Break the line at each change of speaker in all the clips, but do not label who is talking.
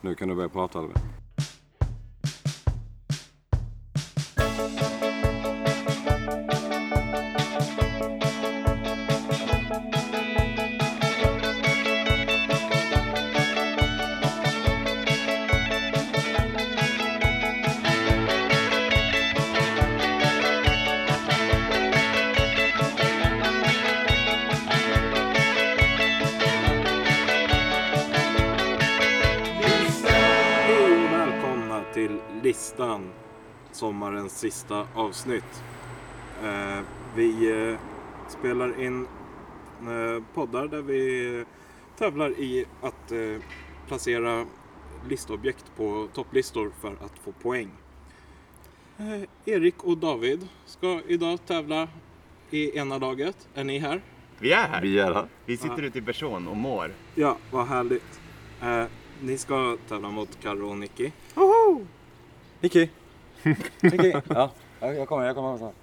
Nu kan du börja prata Albin. Hej och välkomna till listan. Sommarens sista avsnitt. Eh, vi eh, spelar in eh, poddar där vi eh, tävlar i att eh, placera listobjekt på topplistor för att få poäng. Eh, Erik och David ska idag tävla i ena laget. Är ni här?
Vi är här.
Äh. Vi är här.
Vi sitter ute i person och mår.
Ja, vad härligt. Eh, ni ska tävla mot Karo och Nicky.
Nicky! Nicky! ja, jag kommer, jag kommer snart.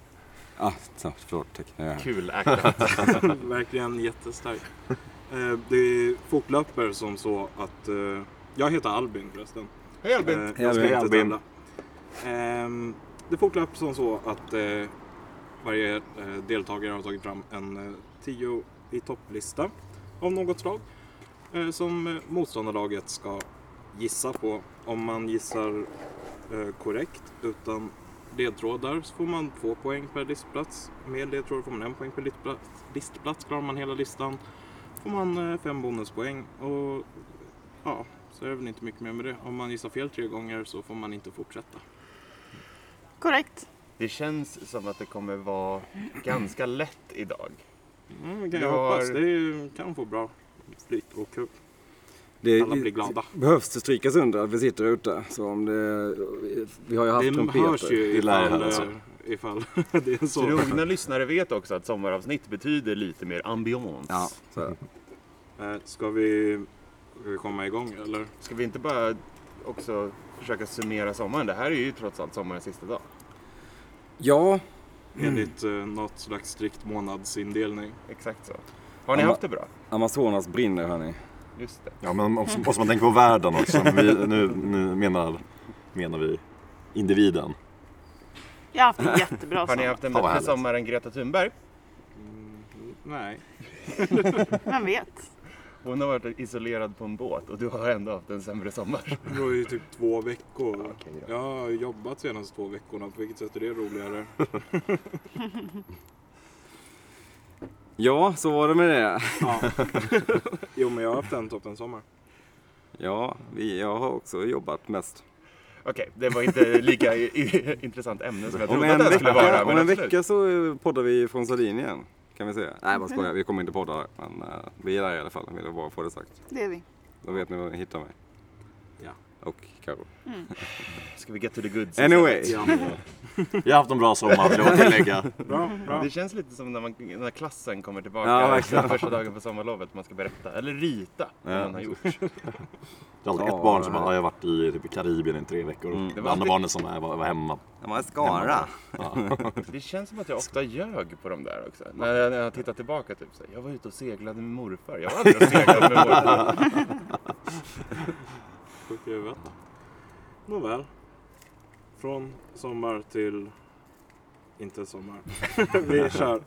Ah, snart, förlåt. Tack. Jag är här.
Kul actat.
Verkligen jättestark. Eh, Det fortlöper som så att... eh, Jag heter Albin förresten.
Hej
Eh,
Albin!
Jag ska
Hej,
inte
Albin.
tävla. Ehm, Det fortlöper som så att eh, varje eh, deltagare har tagit fram en eh, tio i topplista av något slag. eh, Som eh, motståndarlaget ska gissa på. Om man gissar eh, korrekt utan ledtrådar så får man två poäng per listplats. Med ledtrådar får man en poäng per listplats. listplats. Klarar man hela listan får man eh, fem bonuspoäng. Och ja, så är det väl inte mycket mer med det. Om man gissar fel tre gånger så får man inte fortsätta.
Korrekt.
Det känns som att det kommer vara ganska lätt idag.
Mm, kan
Du
jag
har-
hoppas. Det är- kan få bra flyt och kul.
Det
Alla blir glada.
behövs det strykas under att vi sitter ute. Så om det, vi har ju haft
Det
trumpeter.
hörs ju
Det lär
ifall,
höras.
eh, ifall det är så.
Trogna lyssnare vet också att sommaravsnitt betyder lite mer ambiance.
Ja.
Så här.
Eh, Ska vi, ska vi komma igång eller?
Ska vi inte bara också försöka summera sommaren? Det här är ju trots allt sommarens sista dag.
Ja,
Enligt eh, något slags strikt månadsindelning.
Exakt så. Har ni
Ja,
haft det bra?
Amazonas brinner hörni.
Just det.
Ja, men också, måste man tänka på världen också. Men Vi, nu, nu menar, menar vi individen.
Jag har haft en jättebra
Har ni
sommar.
haft en
Fan, vad
bättre
härligt.
sommar än Greta Thunberg?
Mm, Nej.
Vem vet?
Hon har varit isolerad på en båt och du har ändå haft en sämre sommar.
Det var ju typ två veckor.
Okej då.
Jag har jobbat senaste två veckorna. På vilket sätt är det roligare?
Ja, så var det med det.
Ja. Jo men jag har haft en toppensommar.
Ja, vi, jag har också jobbat mest.
Okej, det var inte lika i- i- intressant ämne som jag
Om
trodde att
en,
det skulle vara. men
vecka, om en
absolut.
vecka så eh, poddar vi från Sardinien. Kan vi säga. Nej, bara skojar. Vi kommer inte podda där. Men eh, vi är där i alla fall. Vill jag bara få det sagt.
Det är vi.
Då vet ni var ni hittar mig.
Ja.
Och Karo.
Ska vi get to the goods?
Anyway.
Jag har haft en bra sommar vill jag tillägga.
Bra, bra.
Det känns lite som när, man, när klassen kommer tillbaka
Ja, verkligen.
efter första dagen på sommarlovet. Man ska berätta, eller rita, vad
Ja.
man har gjort.
Det är alltid ett barn som bara, "Ja, jag har varit i typ, Karibien i tre veckor. Det andra
alltid-
barnet som är, var, var hemma.
Det var Skara.
Det känns som att jag ofta ljög på de där också. När jag, när jag tittar tillbaka, typ så här, jag var ute och seglade med morfar. Jag var aldrig och seglade med morfar.
Sjuk i huvudet. Nåväl. Från sommar till inte sommar. Vi kör.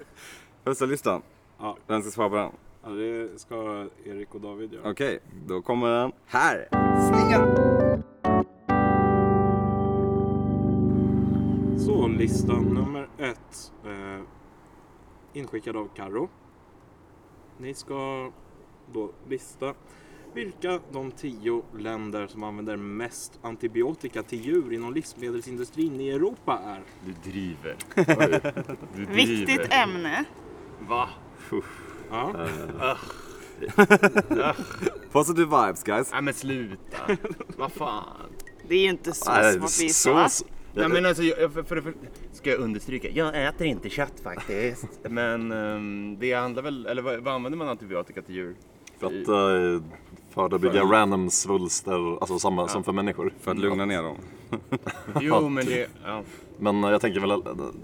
Första listan.
Ja.
Vem ska svara på den?
Ja, det ska Erik och David göra.
Okej, då kommer den här. Snygga!
Så, listan nummer ett. Eh, inskickad av Karo. Ni ska då lista vilka de tio länder som använder mest antibiotika till djur inom livsmedelsindustrin i Europa är.
Du driver. Du driver.
Viktigt ämne.
Va?
Ja,
Positive vibes guys.
Nej men sluta. Vad fan.
Det är ju inte så
Nej,
svårt att gissa. va?
sås.
Nej men alltså, jag, för, för, för, ska jag understryka? Jag äter inte kött faktiskt. men ehm, det handlar väl, eller vad, vad använder man antibiotika till djur?
För att eh, förebygga random svulster, alltså samma som för människor.
För att lugna ner dem.
Jo men det, ja.
Men eh, jag tänker väl, eh,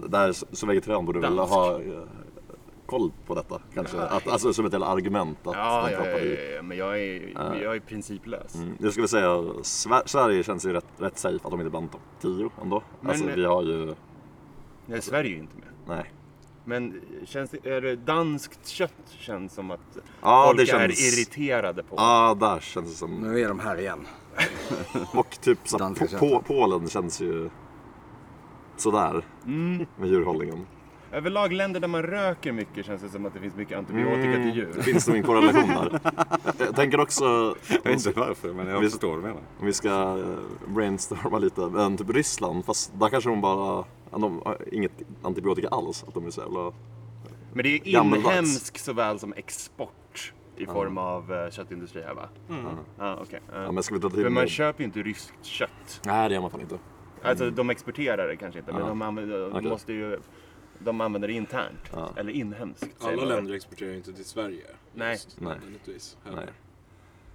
där s- så vegetarian borde väl
Dansk.
ha eh, koll på detta kanske? Att, alltså som ett jävla argument att
Ja,
den
ja, ja,
proppade i.
ja, ja, men jag är, jag är principlös.
Ah. Mm, Jag skulle säga Sver- Sverige känns ju rätt, rätt safe att de inte är bland topp 10 ändå.
Men-
alltså vi har ju,
Nej, Sverige är ju inte med.
nej.
Men känns det, är det danskt kött känns som att
Ja,
folk
det känns-
är irriterade på.
Ja, ah, där känns det som.
Nu är de här igen.
Och typ så, här,
Danska
po- po- Polen känns ju sådär
Mm.
med djurhållningen.
Överlag länder där man röker mycket känns det som att det finns mycket antibiotika till
Det
djur.
finns nog en korrelation där. Jag tänker också,
Jag vet inte varför, men jag förstår vad du menar.
om vi ska eh, brainstorma lite, men typ Ryssland, fast där kanske de bara, de har inget antibiotika alls. Att de är så jävla...
Men det är
Gammeldags.
inhemsk såväl som export i form av eh, köttindustri här va?
Mm.
Ja, okej. Ja.
Ja, men ska vi dra till
Men man
med-
köper ju inte ryskt kött.
Nej, det gör man fan inte.
Alltså de exporterar det kanske inte, men
Mm. Ja.
de, använder, de
Okej.
måste ju... De använder det internt,
Ja.
eller inhemskt. säger
Alla
man.
länder exporterar ju inte till Sverige.
Nej.
Just
Nej.
nödvändigtvis
Nej.
heller.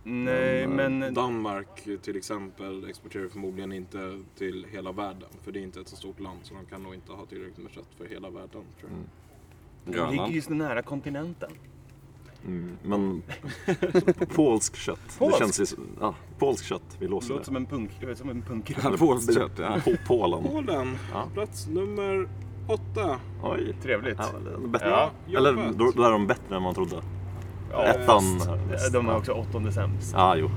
Nej, men...
Danmark till exempel exporterar förmodligen inte till hela världen. För det är inte ett så stort land så de kan nog inte ha tillräckligt med kött för hela världen. Tror jag.
Mm.
De ligger
Grönland.
ju så nära kontinenten.
Mm, Men polsk kött.
Polsk?
Det känns ju, som- ja, polsk kött, vi
Det
låser
låter
det.
som en punk... Som en punk.
Polskt kött, ja.
Po- Polen.
Polen,
Ja.
plats nummer åtta.
Oj.
Trevligt.
Ja, det är bättre.
Ja,
Eller
jobbat.
då, då är de bättre än man trodde.
Ja,
Ettan.
fast De är också åttonde sämst.
Ja, jo.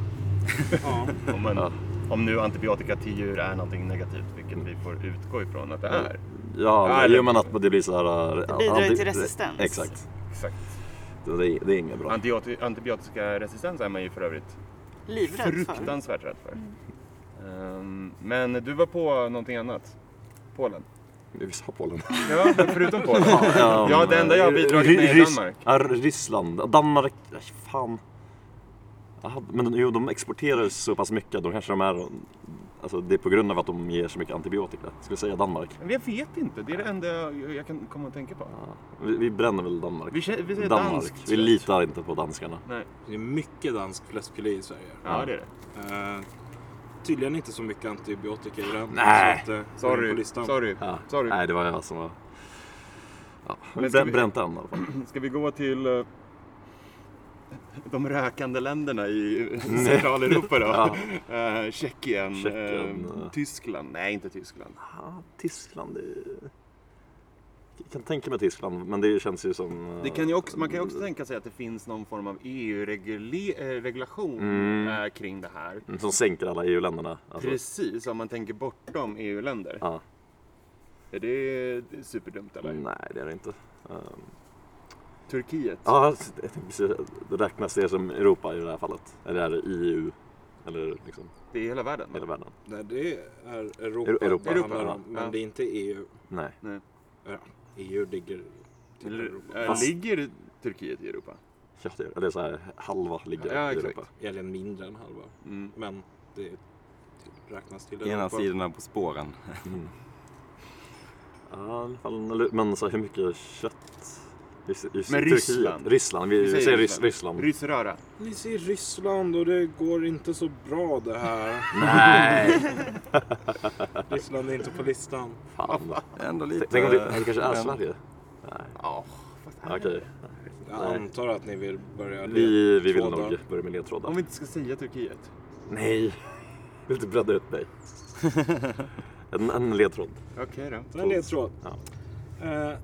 Ja.
Om, man,
Ja.
om nu antibiotika till djur är någonting negativt, vilket vi får utgå ifrån att det är.
Ja,
eller-
jo men att det blir så här... Det
bidrar ju till resistens.
Exakt.
Exakt.
Det, det, är- det är inget bra.
Antibioti- antibiotikaresistens är man ju för övrigt
Livrädd för.
fruktansvärt rädd för. Ehm, men du var på någonting annat. Polen.
Vi sa Polen.
Ja, men förutom Polen. Ja, det enda jag har bidragit med är
Rys-
Danmark.
Ja, Ryssland. Danmark, aj, fan. Jaha, men jo, de exporterar så pass mycket. Då kanske de är... Alltså det är på grund av att de ger så mycket antibiotika. Skulle jag säga Danmark.
Men Jag vet inte, det är det enda jag, jag kan komma att tänka på.
Vi, vi bränner väl Danmark.
Vi, kä- vi säger
Danmark.
danskt
Vi
kött.
litar inte på danskarna.
Nej.
Det är mycket dansk fläskfilé i Sverige.
Ja, det är det.
Eh, tydligen inte så mycket antibiotika i den.
Nej.
Så att, eh, på
Sorry,
listan.
sorry,
Ja.
sorry.
Nej, det var jag som var... Ja,
Men ska
brän,
vi-
bränt den i alla fall.
Ska vi gå till eh, de rökande länderna i Centraleuropa då? Eh, Tjeckien,
Tjeckien,
eh,
eh.
Tyskland. Nej, inte Tyskland.
Ja, Tyskland. Det... Jag kan tänka mig Tyskland, men det känns ju som... eh,
Det kan ju också, man kan ju också tänka sig att det finns någon form av E EU-regulation eh, kring det här.
Som sänker alla EU-länderna. Alltså,
Precis, om man tänker bortom EU-länder.
Ja.
Är det superdumt eller?
nej, det är det inte. Ehm,
Turkiet?
Ja, jag tänkte precis, räknas det som Europa i det här fallet? Eller är det EU? Eller liksom
Det är hela världen? va?
hela världen?
Nej, det är Europa,
Europa.
det handlar
Europa,
om.
ja.
Men
Ja.
det är inte E EU.
Nej.
Ja, EU ligger till Europa.
Eller, eh,
Fast-
Ligger Turkiet i Europa?
Ja, det, eller så här, halva ligger
Ja,
i
exakt.
Europa.
Egentligen mindre än halva.
Mm.
Men det är- räknas till
Ena
Europa.
sidorna på spåren.
Ja, i alla fall, eller- men så här, hur mycket kött? I, i, i
Men Ryssland.
Ryssland. Vi, säger Ryss, Ryssland.
Ryssröra.
Ni ser Ryssland och det går inte så bra det här. Nej! Ryssland är inte på listan.
Fan.
Ändå lite...
Tänk om det, det kanske är
men-
Sverige?
Ja,
Ja, Okej.
Jag antar att ni vill börja
Vi, vi vill
ledtrådar.
nog börja med
Om
ledtrådar.
vi inte ska säga Turkiet.
Nej. Jag vill inte bredda ut mig. En, en ledtråd.
Okej då.
En ledtråd.
Ja.
Eh,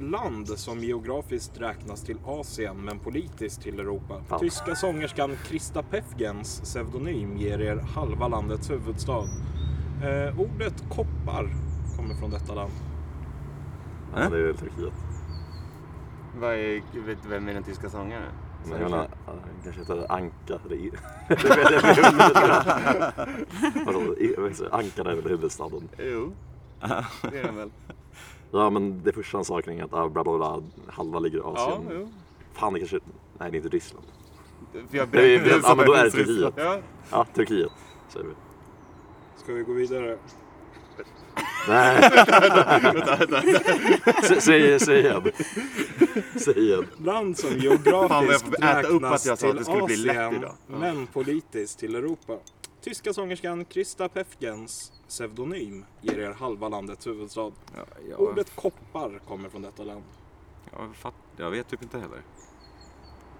land som geografiskt räknas till Asien men politiskt till Europa.
Fan.
Tyska sångerskan Krista Pefgens pseudonym ger er halva landets huvudstad. Eh, ordet koppar kommer från detta land.
Äh?
Ja, det är Turkiet.
Vad är, vet du vem är den tyska sångaren?
Men jag menar, ja, den kanske heter Anka. eller i- Vadå, i- vad heter det? Ankara är väl huvudstaden?
Jo, det är den väl.
Ja, men det första han sa kring att ah, bla, bla, bla, halva ligger i
Ja,
Asien.
jo.
Fan, det kanske... Nej, det är inte Ryssland.
För jag
Det är,
berättade
ja, men då är det
som-
Turkiet.
Ja,
Ja, Turkiet säger vi.
Ska vi gå vidare?
Nej. Sä- Säg, säg igen. Säg igen.
Land som
Fan, vad jag
geografiskt
får äta upp
räknas
att jag sa att
till
det skulle bli lätt
Asien,
idag. Ja.
men politiskt till Europa. Tyska sångerskan Krista Pefgens pseudonym ger er halva landets huvudstad.
Ja, jag,
Ordet koppar kommer från detta land.
jag fattar Jag vet typ inte heller.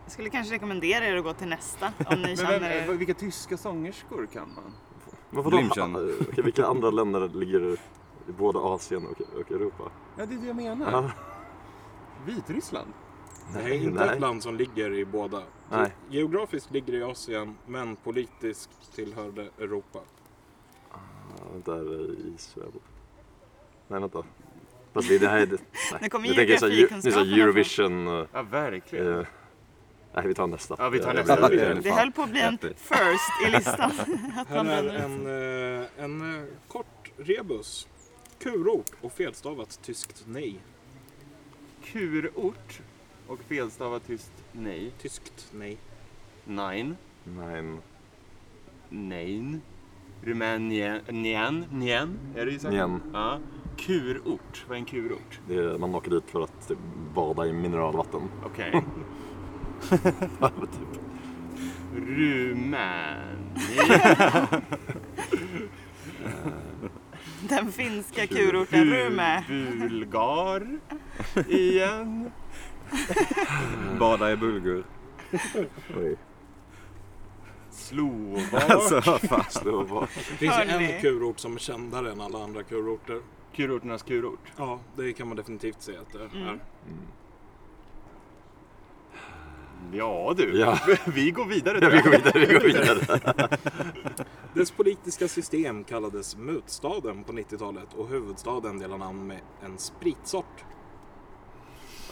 Jag skulle kanske rekommendera er att gå till nästa om ni
Men
känner
vem, eh,
er...
vilka tyska sångerskor kan man?
Varför då?
München.
Ah, okej, vilka andra länder ligger i både Asien och, och Europa?
Ja, det är det jag
Ja.
menar. Vitryssland?
Det här är inte ett land som ligger i båda.
Nej.
Geografiskt ligger det i Asien, men politiskt tillhör det Europa.
Ja, Vänta, är det Israel? Nej, vänta. Fast det, det här är... det- Nej.
Nu kommer
jag tänker så här, Eu- nu så här
geografikunskaperna
Eurovision... eh,
Ja, verkligen.
eh, nej, vi tar nästa.
Ja, vi tar
Eh,
nästa.
jag blir-
Det är
Det
fan
höll på att bli en
jätte-
first i listan. att
Här
man
är
blir
en, eh, en eh, kort rebus. Kurort och felstavat tyskt nej.
Kurort och felstavat tyst nej.
Tyskt nej.
Nein.
Nej,
Nein. Rumänien. Nien. Nien. Är det ju så?
Nien.
Ja. Kurort. Vad är en kurort?
det är, man åker dit för att typ, bada i mineralvatten.
Okej.
typ.
Rumänien.
den finska kurorten Rume.
Bulgar. Igen.
Bada i bulgur.
Oj.
Slovak.
Alltså vad fan.
Så vad-
Det finns
Hörni.
en kurort som är kändare än alla andra kurorter.
Kurorternas kurort.
Ja, det kan man definitivt säga att det är.
Ja du.
Ja.
Vi går vidare. tror
Ja, vi
jag.
går vidare, vi går vidare.
Dess politiska system kallades mutstaden på 90-talet och huvudstaden delar namn med en spritsort.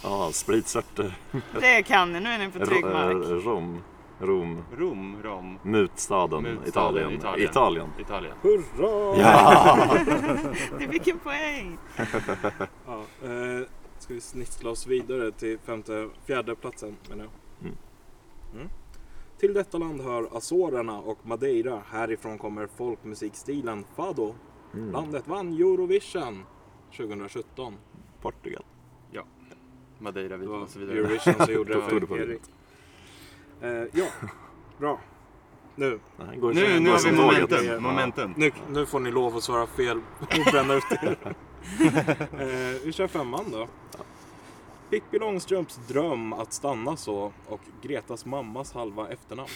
Ja, spritsörter.
Det kan ni, nu är ni på trygg
eh,
mark.
eh, Rom. Rom.
Rom. Rom.
Mutstaden,
Mutstaden,
Italien.
Italien.
Italien.
Italien.
Hurra!
eh.
Ni fick en poäng.
Ja, eh, ska vi snitsla oss vidare till femte, fjärde platsen menar jag.
Mm.
Mm. Till detta land hör Azorerna och Madeira. Härifrån kommer folkmusikstilen fado. Landet vann Eurovision 2017.
Portugal.
Det
Madeira, Vitryssland
var
och så vidare.
Eurovision som gjorde
Tog- tog du
det
på
för
det?
Erik. Eh, ja, bra. Nu,
Nej, går
Nu,
som-
nu
går
har
som
vi
tåget.
Ja.
momentum. momentum.
nu, nu får ni lov att svara fel och bränna ut er. eh, vi kör femman då. Pippi Långstrumps dröm att stanna så och Gretas mammas halva efternamn.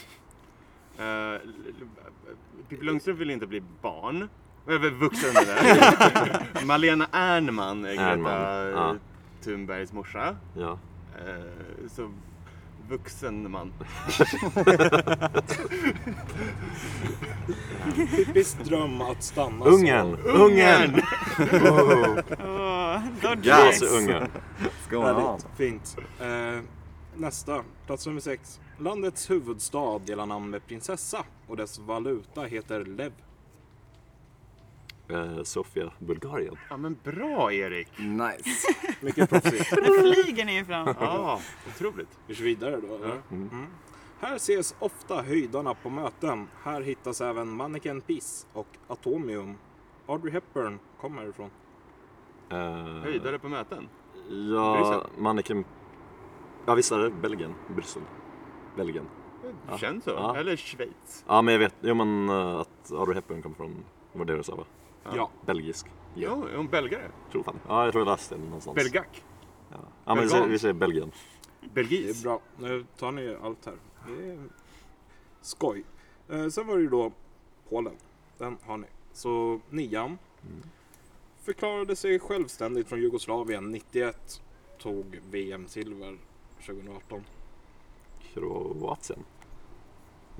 Eh, Pippi Lundström vill inte bli barn. Eller vuxen menar jag. Malena Ernman är Greta
Ernman, ja.
Thunbergs morsa.
Ja.
Eh, så vuxen man.
Pippis dröm att stanna så.
Ungern! Ungern! Oh,
Åh, Dodgers.
Alltså.
Gasungern.
Väldigt fint. Eh, nästa, plats nummer sex. Landets huvudstad delar namn med prinsessa och dess valuta heter lev.
Eh, Sofia, Bulgarien.
Ja men bra Erik!
Nice.
Mycket proffsigt.
Nu flyger ni ju fram.
Ja, otroligt.
Vi kör vidare då, eller? Mm. Här ses ofta höjdarna på möten. Här hittas även Mannequin Peace och Atomium. Audrey Hepburn kommer härifrån.
Eh,
Höjdare på möten.
Ja, Mannequin... Ja, visst är det Belgien? Bryssel? Belgien?
Känns så.
Ja.
Eller Schweiz.
Ja, men jag vet. Jo, men eh, att Audrey Hepburn kommer från... Vad det du sa, va?
Ja.
Belgisk?
Ja, är hon belgare?
Tror fan. Ja, jag tror jag läste det någonstans.
Belgak.
Ja, ja men vi säger, vi säger Belgien.
Det är
Belgis.
bra. Nu tar ni allt här. Det är skoj. Eh, sen var det ju då Polen. Den har ni. Så nian. Förklarade sig självständigt från Jugoslavien 91. Tog VM-silver 2018.
Kroatien.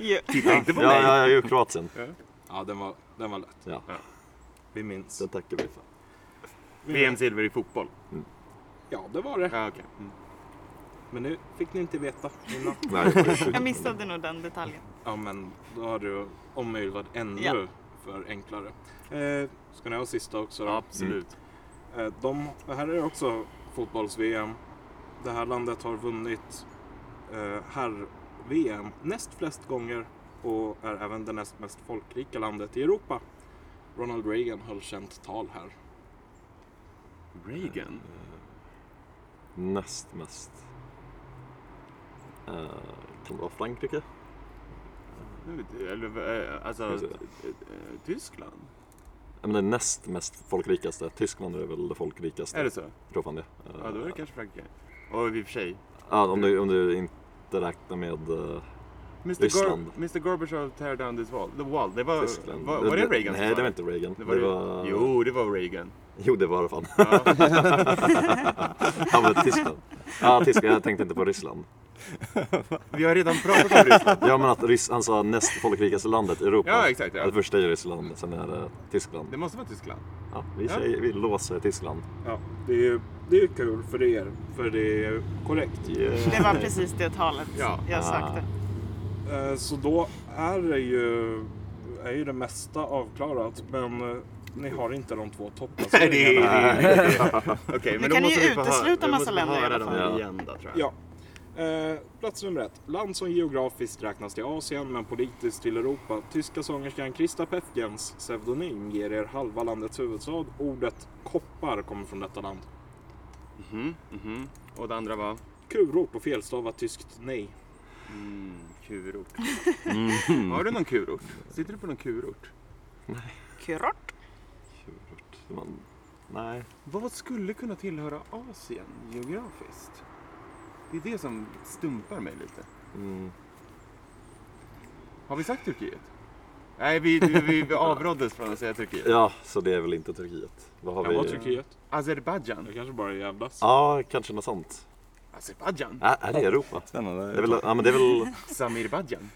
Ju.
Titta inte på
Ja,
mig.
ja, ja, ju Kroatien.
Ja, den var, den var lätt.
Ja.
Vi minns.
Den tackar vi för.
VM-silver i fotboll.
Ja, det var det.
Ja, okej. Mm.
Men nu fick ni inte veta innan.
Nej, det var ju-
Jag missade nog den detaljen.
Ja men då har du omöjliggjort ännu
Ja.
för enklare. Eh, ska ni ha sista också då?
Absolut.
Eh, de, här är också fotbolls-VM. Det här landet har vunnit eh, herr-VM näst flest gånger och är även det näst mest folkrika landet i Europa. Ronald Reagan höll känt tal här.
Mm. Reagan.
Näst mest. Eh, kan det vara Frankrike?
Eller, eh, alltså,
Just det.
eh, eh, Tyskland?
ja, men den näst mest folkrikaste. Tyskland är väl det folkrikaste.
Är det så?
Jag tror fan det.
Ja, då är det kanske Frankrike. Och i och för sig.
Ja, om, du, om du inte räknar med eh,
Mr, Gor-
Ryssland.
Mr Gorbachev tear down this wall. The wall. Det var,
Tyskland.
var, var det Reagan
Nej, det var inte Reagan.
det var, det var... Jo, det var Reagan.
Jo, det var det fan.
Ja.
Han var Tyskland. Ja, Tyskland. Jag tänkte inte på Ryssland.
Vi har redan pratat om Ryssland.
Ja, men att Ryss, han sa näst folkrikaste landet i Europa.
Ja, exakt.
Det
Ja.
första är Ryssland, sen är det Tyskland.
Det måste vara Tyskland.
Ja, vi, säger, vi låser Tyskland.
Ja, det är ju det är ju kul för er, för det är korrekt.
Det var precis det talet
Ja. Ah.
jag sökte.
Eh, Så då är det ju, är ju det mesta avklarat, men eh, ni har inte de två topplaceringarna.
Okej,
Nu
men då
kan ni
måste
ju
vi få
utesluta
höra-
massa
vi måste få
länder i
höra
alla
dem
fall.
igen då, tror jag.
Ja. Eh, plats nummer ett. Land som geografiskt räknas till Asien men politiskt till Europa. Tyska sångerskan Krista Pefgens pseudonym ger er halva landets huvudstad. Ordet koppar kommer från detta land.
Mhm, mhm. Och det andra var?
Kurort och felstavat tyskt nej.
Mm, kurort.
Mhm.
Har du någon kurort? Sitter du på någon kurort?
Kurort.
Man, nej.
Vad skulle kunna tillhöra Asien geografiskt? Det är det som stumpar mig lite.
Mm.
Har vi sagt Turkiet? Nej, vi, vi, vi, vi avråddes från att säga Turkiet.
Ja, så det är väl inte Turkiet. Vad har
Kan vara
vi?
Turkiet.
Azerbajdzjan.
Det kanske bara är jävlas.
Ja, kanske något sånt.
Azerbajdzjan?
Ä- är det Europa? Det är
Spännande.
väl, ja, men det är väl,
Samirbajdzjan?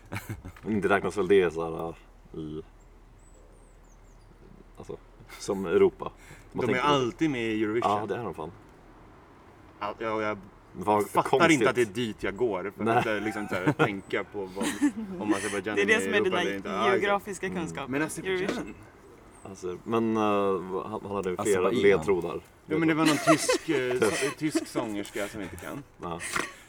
inte räknas väl det så här äh, i, alltså, som Europa? Man
De är
tänker-
alltid med i Eurovision.
Ja, det är de fan.
All- ja, jag
Vad
fattar
konstigt.
inte att det är dit jag går för
Nej.
att eh, liksom, så här, tänka på vad, om Azerbajdzjan
Det är det som är
Europa
dina
eller inte. Ja, exakt. Mm.
geografiska kunskaper.
Men
Eurovision.
Azerbajdzjan?
Alltså, men eh, han, han hade ju flera
Azerbajdzjan.
ledtrådar.
Ja, men det var någon tysk, eh, så, tysk sångerska som inte kan.
Ja.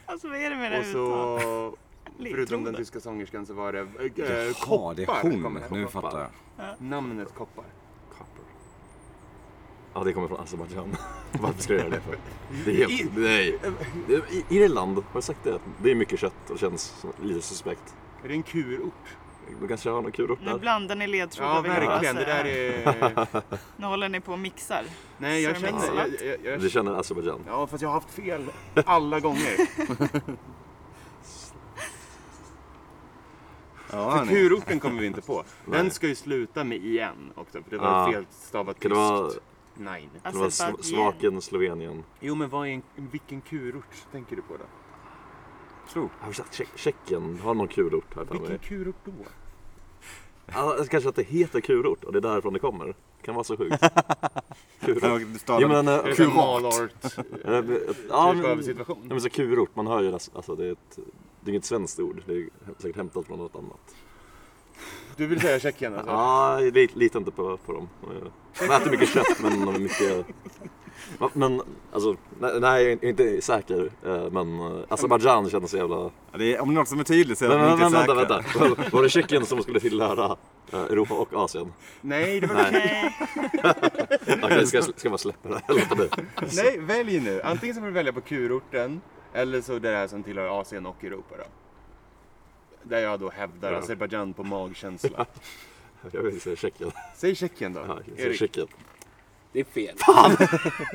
Alltså vad är det med det
Och
uttal?
så, förutom den
Ledtrådar.
tyska sångerskan så var det
Eh,
äh,
Jaha,
koppar.
det är hon.
kommer det.
Nu fattar jag.
Namnet koppar.
Copper. Ja, det kommer från Azerbajdzjan. Varför skulle jag göra det för? Det är helt, nej. Det är- I- Irland, har jag sagt det? Det är mycket kött och det känns som lite suspekt.
Är det en kurort?
De kanske har någon kurort
Nu
där.
blandar ni ledtrådar
Ja,
vill jag bara
verkligen. Det
säga.
där är...
Nu håller ni på och mixar.
Nej, jag
Ceremony
känner... Jag,
slot.
jag, jag,
Du känner Azerbajdzjan?
Ja, fast jag har haft fel alla gånger.
Ja,
För
hörni.
kurorten kommer vi inte på. Den
Ah, Nej.
ska ju sluta med igen också, för det var
Ah.
fel stavat tyskt.
Kan det vara,
Nej.
kan det vara sv-
Azerbajdzjan.
Svaken, Slovenien?
Jo, men vad är en, vilken kurort tänker du på då?
Jag har sagt Tje- Tjeckien har någon kurort här för
Vilken
mig.
kurort då?
Ja, alltså, kanske att det heter kurort och det är därifrån det kommer. Det kan vara så sjukt. Kurort.
Du
Ja,
stavar
men, eh,
Är det en
kurort.
malart
Ja, men- ja, men-
situation?
Nej men så kurort, man hör ju nästan, alltså det är, ett, det är inget svenskt ord, det är säkert hämtat från något annat.
Du vill säga Tjeckien alltså?
Ja, jag lit- litar inte på, på dem. De är- De äter mycket kött men de är mycket... Va, Men alltså, nej, nej jag är inte säker. eh, Men eh, Azerbajdzjan kändes så jävla...
Ja, det är, om det är något som är tydligt så är det
Men,
att ni
men,
inte är
men, vänta,
säkra.
vänta. Var- Var det Tjeckien som skulle tillhöra eh, Europa och Asien?
Nej, det var...
Nej.
Nej,
Okej, ska, jag- ska man släppa det? Eller låta bli?
Nej, välj nu. Antingen så får du välja på kurorten eller så det här som tillhör Asien och Europa då. Där jag då hävdar
Ja.
Azerbajdzjan på magkänsla.
Jag vill säga Tjeckien.
Säg Tjeckien då.
Ja, jag säger
Erik,
Tjeckien.
Det är fel.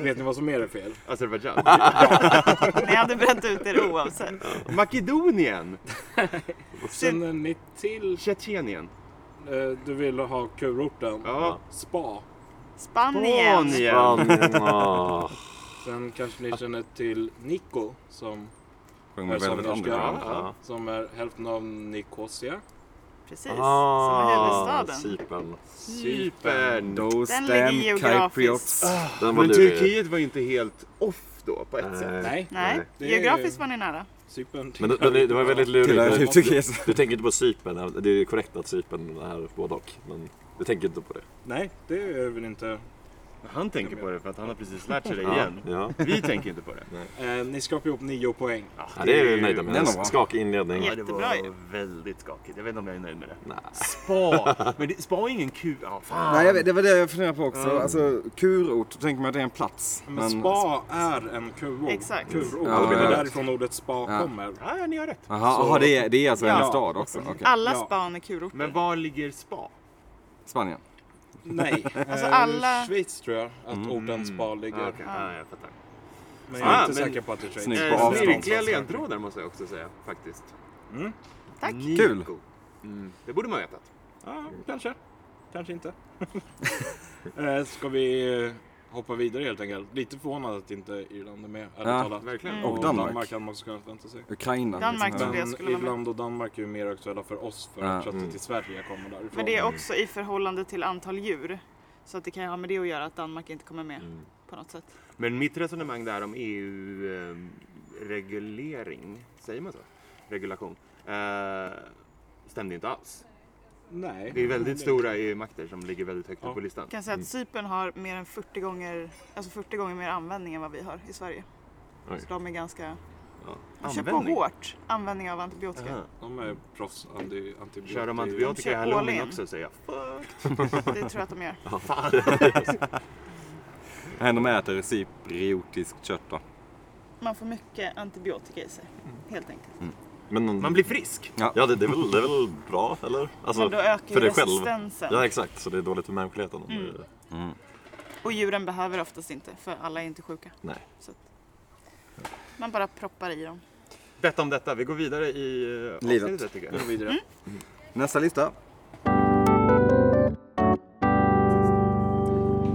Vet ni vad som mer är fel?
Azerbajdzjan.
ni hade brett ut er oavsett.
Makedonien!
Känner ni till,
Tjetjenien.
eh, du ville ha kurorten,
Ja.
spa.
Spanien.
Spanien.
Spanien. ah.
Sen kanske ni känner till Nico som,
Sjöng med
Som
väldigt
norska.
underground.
Ja.
som är hälften av Nicosia.
Precis, som
Ah,
är huvudstaden.
ah, Cypern.
Cypern.
Those
Den ligger
damn
geografiskt.
Cypriots.
Den var
Men
lurig. Eh,
Turkiet var ju inte helt off då på ett sätt.
Nej,
Nej,
Det är-
geografiskt var ni nära.
Cypern.
Men det, men det, det var väldigt
Tillhör
lurigt.
typ
Du,
Turkiet.
du tänker inte på Cypern. Det är ju korrekt att Cypern är både och. Men du tänker inte på det.
Nej, det är väl inte.
Han tänker på det för att han har precis lärt sig det
Ja,
igen.
ja.
Vi tänker inte på det.
Eh, ni skrapar ihop nio poäng.
ja det är vi nöjda med.
det är nog bra.
En skakig inledning.
Ja.
Ja, det
Jättebra ju.
var väldigt skakigt. Jag vet inte om jag är nöjd med det. Spa! Men det, spa är ingen kul... Ja, fan.
Nej, jag vet, det var det jag funderade på också. Alltså, kurort, då tänker man att det är en plats.
Men, spa är en kurort.
Exakt.
kurort.
Ja,
det är
ja.
därifrån ordet spa
Ja.
kommer.
Ja, ja, ni har rätt.
Jaha, aha, det, är, det är alltså
Ja.
en stad också? Okej.
Alla
Ja.
span är kurorter.
Men var ligger spa?
Spanien.
Nej,
Alltså
eh,
alla-
Schweiz tror jag att
Mm.
orten spa ligger.
Ja, okej. Ja, jag fattar.
Men jag är
Ah,
inte
men-
säker på att det är Schweiz.
Snyggt på
Eh,
avstånd.
Snirkliga ledtrådar måste jag också säga faktiskt.
Mm.
Tack.
Kul.
Nico. Mm. Det borde man ha vetat.
Ja, kanske. Kanske inte. Eh, Ska vi eh, hoppa vidare helt enkelt? Lite förvånad att inte Irland är med, ärligt
Ja,
talat.
Verkligen.
Mm.
Och Danmark.
Danmark hade man kanske väntat sig.
Ukraina.
Danmark
liksom.
tror jag.
Men
skulle vara med.
Irland och Danmark är ju mer aktuella för oss för
Ja,
att köttet
mm.
i Sverige kommer därifrån.
Men det är också i förhållande till antal djur. Så att det kan ju ha med det att göra att Danmark inte kommer med
Mm.
på något sätt.
Men mitt resonemang där om E EU-reglering, säger man så? Regulation. Eh, stämde inte alls.
Nej.
Det är väldigt stora EU-makter som ligger väldigt högt
Ja.
upp på listan.
Jag kan
Mm.
säga att Cypern har mer än 40 gånger, alltså 40 gånger mer användning än vad vi har i Sverige.
Oj.
Så de är ganska...
Ja.
De kör på hårt användning av antibiotika.
Aha.
De är proffs anti-
Kör de
antibiotika. Mm.
antibiotika i
kör all
halloween
in.
också säger jag.
Det tror jag att de gör.
Nej, de äter cypriotiskt kött då.
Man får mycket antibiotika i sig, helt enkelt.
Men,
Man blir frisk.
Ja, det, det, är väl, det är väl bra, eller? Alltså,
Men då ökar
för
ju
dig själv.
resistensen.
Ja, exakt. Så det är dåligt för mänskligheten. om
Mm.
det-
Och djuren behöver oftast inte, för alla är inte sjuka.
Nej.
Så att man bara proppar i dem.
Detta om detta. Vi går vidare i eh,
Livet.
avsnittet tycker jag.
Vidare.
Nästa lista.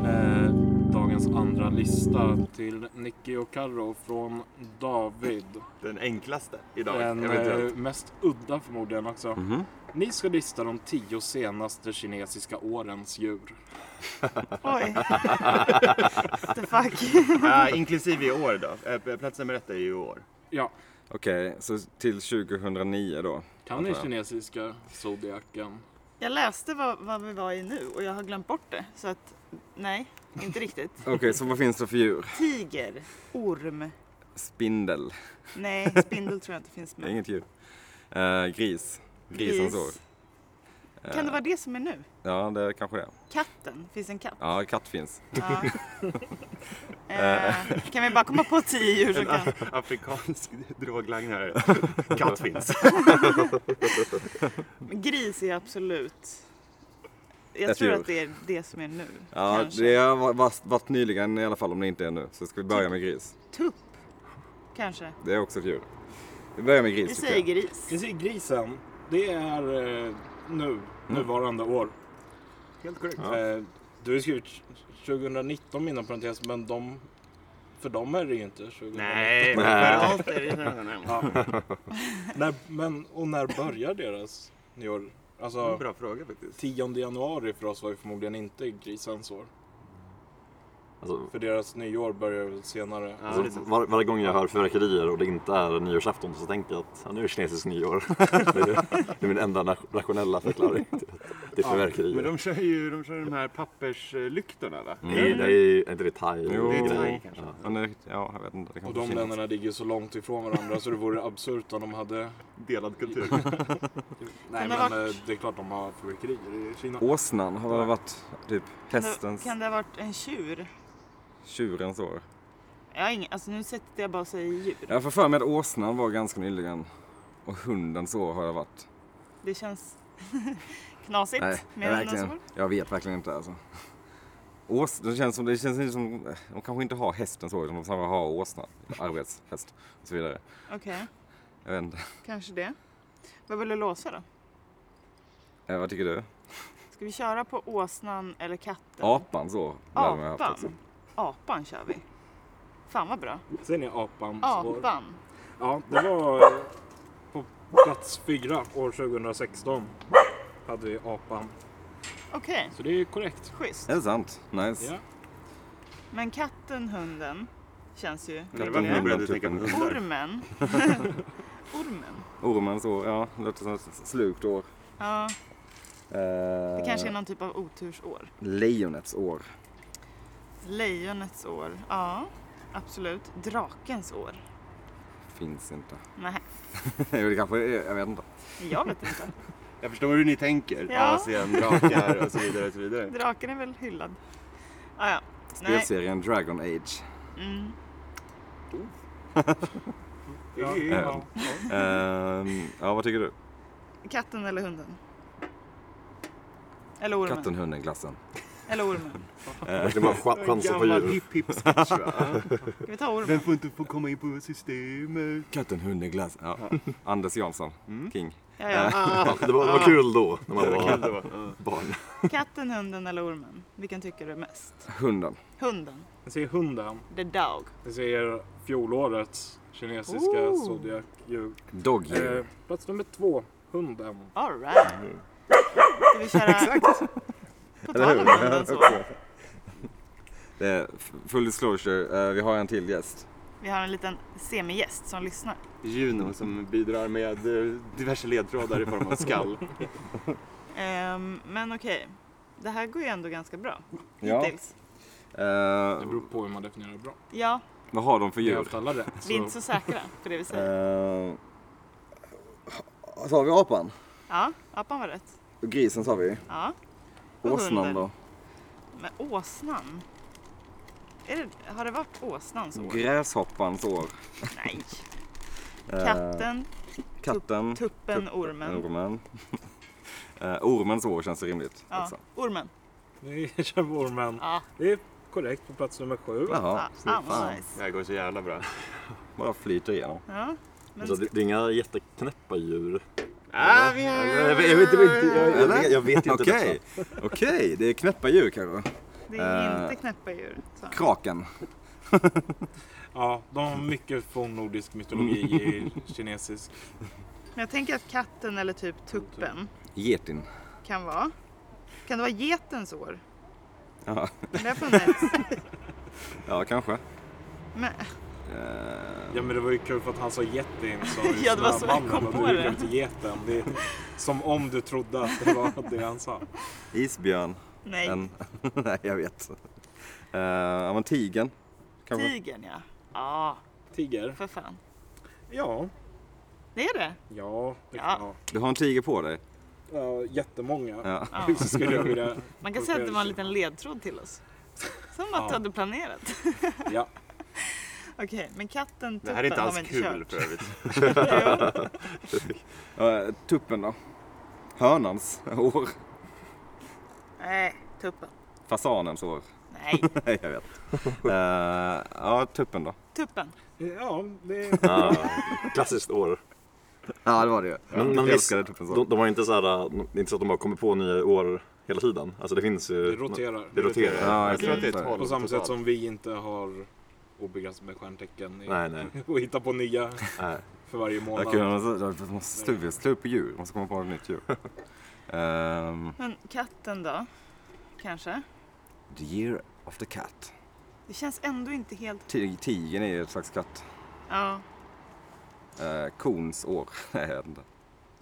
Eh, dagens andra lista till Nicky och Carro från David.
Den enklaste idag.
Den
eventuellt.
eh, mest udda förmodligen också. Ni ska lista de tio senaste kinesiska årens djur.
Oj. What the fuck.
Ja, inklusive i år då. Eh, Plats nummer ett är ju i år.
Ja,
Okej, så till 2009 då.
kan ni
Antar jag.
kinesiska zodiaken?
Jag läste vad, vad vi var i nu och jag har glömt bort det. Så att, nej, inte riktigt.
Okej, så vad finns det för djur?
Tiger, orm.
Spindel.
Nej, spindel tror jag inte finns
Det är
med.
inget djur. Eh, gris. Eh. Grisens år.
Gris. Kan det vara det som är nu?
Ja, det kanske det är.
Katten, finns en katt?
Ja, katt finns.
Ja. eh, kan vi bara komma på tio djur som kan...
Afrikansk droglangare. Katt finns.
Men Gris är absolut... Jag
Ett
tror
djur.
att det är det som är nu.
Ja,
kanske.
det har va- va- varit nyligen i alla fall om det inte är nu. Så ska vi börja med gris.
Tupp, kanske.
Det är också ett djur. Vi börjar med
Vi
gris
säger
tycker jag.
gris.
Ni ser grisen, det är eh, nu, nuvarande år.
Helt korrekt.
Eh, du har ju skrivit 2019 inom parentes, men de, för dem är det ju inte 2019.
Nej, men för oss är det
När, men, och när börjar deras nyår?
en
Alltså,
bra fråga faktiskt.
10 januari för oss var ju förmodligen inte grisens år.
Alltså,
För deras nyår börjar väl senare.
Ja, det är
Alltså,
sant.
var, varje gång jag hör fyrverkerier och det inte är nyårsafton så tänker jag att ja, nu är det kinesiskt nyår. det, är, det är min enda na- rationella förklaring till att det är fyrverkerier.
Men de kör ju de, kör de här papperslyktorna va?
det, är, det är, är inte det thai?
Jo.
Det är
Mm.
thai kanske.
Mm. Oh. Ja.
Ja, nu- ja, jag vet inte. Det
Och
kanske
de
finns.
länderna ligger så långt ifrån varandra så det vore absurt om de hade...
Delad kultur.
Nej
det
men
vara-
eh, det är klart de har fyrverkerier i Kina.
Åsnan har väl varit typ
Kan
hästens,
det- Kan det ha varit en tjur?
tjurens år.
Jag har ingen, alltså nu sitter jag bara och säger djur.
Jag får för mig att åsnan var ganska nyligen. Och hundens år har jag varit.
Det känns knasigt
Nej, jag,
med
verkligen,
hundensår.
jag vet verkligen inte alltså. Ås, det känns som, det känns inte som, de kanske inte har hästen så, utan de snarare har åsnan, arbetshäst och så vidare.
Okej,
Jag vet inte,
kanske det. Vad vill du låsa då?
eh, vad tycker du?
Ska vi köra på åsnan eller katten?
Apans år lär de ha haft också.
Apan. Apan kör vi. Fan vad bra.
Ser ni apans år?
Apan.
Ja, det var eh, på plats fyra år 2016. Hade vi apan.
Okej,
Så det är korrekt.
schysst.
Är det sant? Nice.
Ja.
Men katten, hunden känns ju...
Det var när jag började tänka på
Katten,
hundar.
Ormen. Ormen.
Ormens år, ja, det låter som ett slukt år.
Ja, det
Eh,
kanske är någon typ av otursår.
Lejonets år.
Lejonets år. Ja, absolut. Drakens år.
Finns inte.
Nej,
jo, det kanske är, jag vet inte.
jag vet inte.
Jag förstår hur ni tänker.
Ja.
Asien, drakar och så vidare. Och så vidare.
Draken är väl hyllad. Ah, ja. Nej.
Spelserien Dragon Age.
Mm.
Ja,
ja. Ehm, ja, vad tycker du?
Katten eller hunden? Eller ormen?
Katten, hunden, glassen.
Eller ormen.
Eh, Det var ch- chansen på
Gammal
djur.
hipp hipp sketch va?
Ska vi ta ormen?
Den får inte få komma in på systemet.
Katten, hunden, glass. Ja. Anders Jansson,
Mm.
king.
Ja, ja.
Det var, det var kul då, när man
Kul det
var
var. Ja.
barn.
Katten, hunden eller ormen? Vilken tycker du mest?
Hunden.
Hunden.
Jag ser hunden.
The dog.
Jag ser fjolårets kinesiska
Ooh.
zodiac-djur.
Dog
Eh, plats nummer två, hunden.
All right. Ska vi köra... Exakt. På tal om hunden så.
Det är f- Full disclosure, eh, vi har en till gäst.
Vi har en liten semigäst som lyssnar.
Juno som bidrar med eh, diverse ledtrådar i form av skall.
Ehm, men okej. Det här går ju ändå ganska bra.
Ja.
Hittills.
Eh,
Det beror på hur man definierar bra.
Ja,
vad har de för
Vi har
djur?
haft alla rätt.
vi är inte så säkra på det vi säger.
Uh, sa vi apan?
Ja, apan var rätt.
Och grisen sa vi.
Ja. Och
Åsnan
hunden.
då?
Men åsnan? Är det, har det varit åsnans år?
Gräshoppans år.
Nej.
Eh,
Katten,
Katten.
tuppen,
Ormen.
ormen.
Eh, ormens år känns rimligt.
Ja,
också.
ormen.
Vi kör med ormen.
Ja,
Det är korrekt på plats nummer sju.
Jaha,
ja, ah, vad nice.
Det här går så jävla bra.
bara flyter igenom.
Ja, men
Alltså, det, det är inga jätteknäppa djur.
Ah, vi
Jag vet, jag vet, inte riktigt, jag, jag, vet, jag vet inte
Okej, okej, det är knäppa djur kanske.
det är
eh,
inte knäppa djur. Så.
Kraken.
Ja, de har mycket från nordisk mytologi i kinesisk.
Men jag tänker att katten eller typ tuppen
Getin.
kan vara. Kan det vara getens år?
Ja,
Har Det har funnits.
ja kanske.
Men,
Eh,
Ja, men det var ju kul för att han sa jätten som
Ja, det var så jag kom på
Du
det.
gick till geten. Det är som om du trodde att det var det han sa.
isbjörn.
nej,
En... Nej, jag vet. Eh, Ja, men tigen. Kanske.
tigern ja. Ja,
Tiger?
för fan.
Ja.
Det är det.
Ja. Det,
Ja.
ja.
Du har en tiger på dig.
ja. Jättemånga.
Ja.
Ja.
Så skulle jag vilja...
Man kan säga att det var en liten ledtråd till oss. Som att
Ja.
du hade planerat.
Ja.
Okej, men katten,
Det
tuppen
här är inte
har
alls
vi inte
kul
kört.
för övrigt.
Jo,
Eh, tuppen då? Hönans år.
Nej, tuppen.
Fasanens år.
Nej,
Nej, jag vet. Eh, ja, tuppen då?
tuppen.
Ja, det...
Ja, klassiskt år.
Ja, det typ var det ju.
Men- men
jag
visst,
älskade tuppens år.
Mm, De, de har inte så här, det är inte så att de bara kommer på nya år hela tiden. Alltså det finns ju...
det roterar.
Det roterar.
Ja,
Jag tror att det är
exakt.
tolv
På samma sätt
totalt.
som vi inte har obegränsat med stjärntecken i-
Nej, nej.
och hitta på nya
nej.
för varje månad.
Jag kunde, jag måste slå- jag slår upp på djur. Jag måste komma på ett nytt djur. Ehm,
Men katten då? Kanske?
the year of the cat.
Det känns ändå inte helt...
Ti- Tigern är ju ett slags katt.
Ja,
Uh, kons år. Nej, jag vet inte.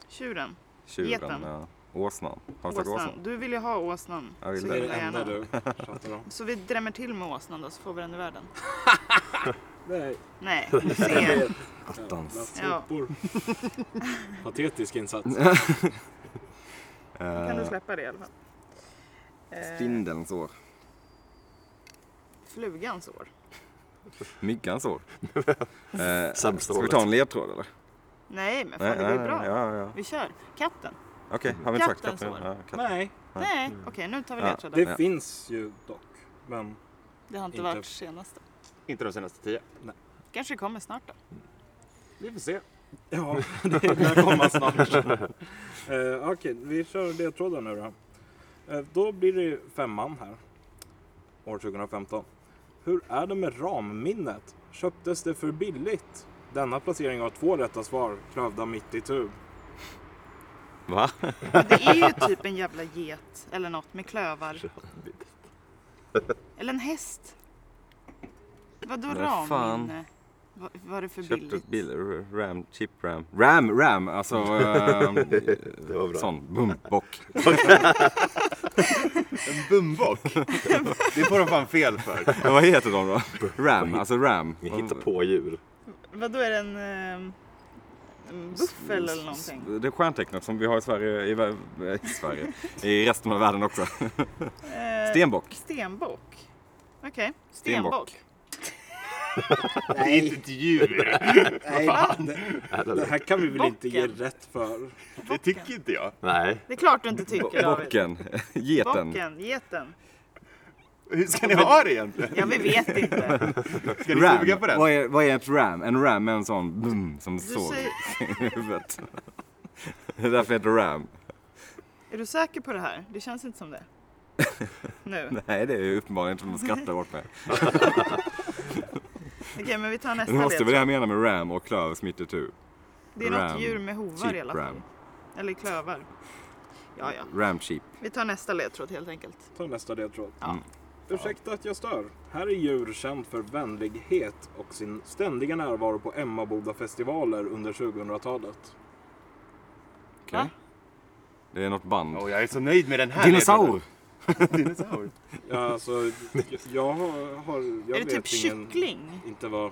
tjuren.
Tjuren.
Geten.
ja. Åsnan. Har vi sagt
Åsnan.
åsnan?
Du vill ju ha åsnan.
Jag vill
Det är
det.
det enda
Gärna.
du pratar om.
Så vi drämmer till med åsnan då så får vi den i världen.
Nej.
Nej, du ser.
Attans.
Ja.
Sopor. Patetisk insats.
Kan du
Eh,
släppa det i alla fall? Eh,
Spindelns år.
flugans år.
Myggans år. Eh,
Sämsta
Ska vi
året.
ta en ledtråd eller?
Nej, men fan det går ju
nej,
bra.
Ja, ja.
Vi kör. Katten.
Okej, har vi inte sagt
Kattens
katten?
år.
Ja, katten.
Nej,
Nej, okej nu tar vi
Ja,
ledtrådar.
det
Ja.
finns ju dock. Men
Det har inte,
Inte-
varit senaste.
Inte de senaste tio.
Kanske kommer snart då.
vi får se. Ja, det lär komma snart. Eh, Okej, vi kör ledtrådar nu då. Eh, då blir det femman här. År 2015. Hur är det med ramminnet? Köptes det för billigt? Denna placering har två rätta svar, klövda mitt i tur.
Va?
Men det är ju typ en jävla get eller något med klövar. Eller en häst. Vadå
Men fan.
ramminne? Va- Var det för
Köpte
billigt?
bil, r- ram, chip ram. Ram, ram, alltså. ehm,
var bra.
sån, bumbock.
En bumbock? det får de fan fel för.
Men vad heter de då? Ram, alltså ram.
Vi hittar på djur.
Vadå är det en, eh, en buffel eller någonting?
Det är stjärntecknet som vi har i Sverige, i, vä- i Sverige, i resten av världen också.
Eh,
Stenbock.
Stenbock. Okej,
Stenbock.
stenbock.
Det är inte ett djur.
Nej, det, det här kan vi väl inte ge rätt för?
Det tycker inte jag.
Nej.
Det är klart du inte tycker David.
Bocken. Geten.
Bocken, geten.
Hur ska ni ha det egentligen?
Ja, vi vet inte.
Ska ni
Ram.
suga på den?
Vad är, vad är ett ram? En ram är en sån boom, som
Du
såg
säger,
i huvudet. Det är därför det heter ram.
är du säker på det här? Det känns inte som det. Nu.
Nej, det är ju uppenbarligen inte som de skrattar bort mig.
Okej, men vi tar
Det
nästa
måste väl
led.
det jag menar med ram och klöv smittetur.
Det är något
ram.
djur med hovar i
Cheap
alla fall.
ram.
Eller klövar. Ja, ja.
Ram cheap.
Vi tar nästa ledtråd helt enkelt.
Ta nästa ledtråd.
Ja.
Mm.
Ursäkta att jag stör. Här är djur känd för vänlighet och sin ständiga närvaro på Emmaboda-festivaler under 2000-talet.
Okej.
Va?
Det är något band.
Åh, jag är så nöjd med den här.
Dinosaur!
Dinosaur.
Ja, alltså, jag har... har jag
är det
vet
typ
ingen,
kyckling?
Inte vad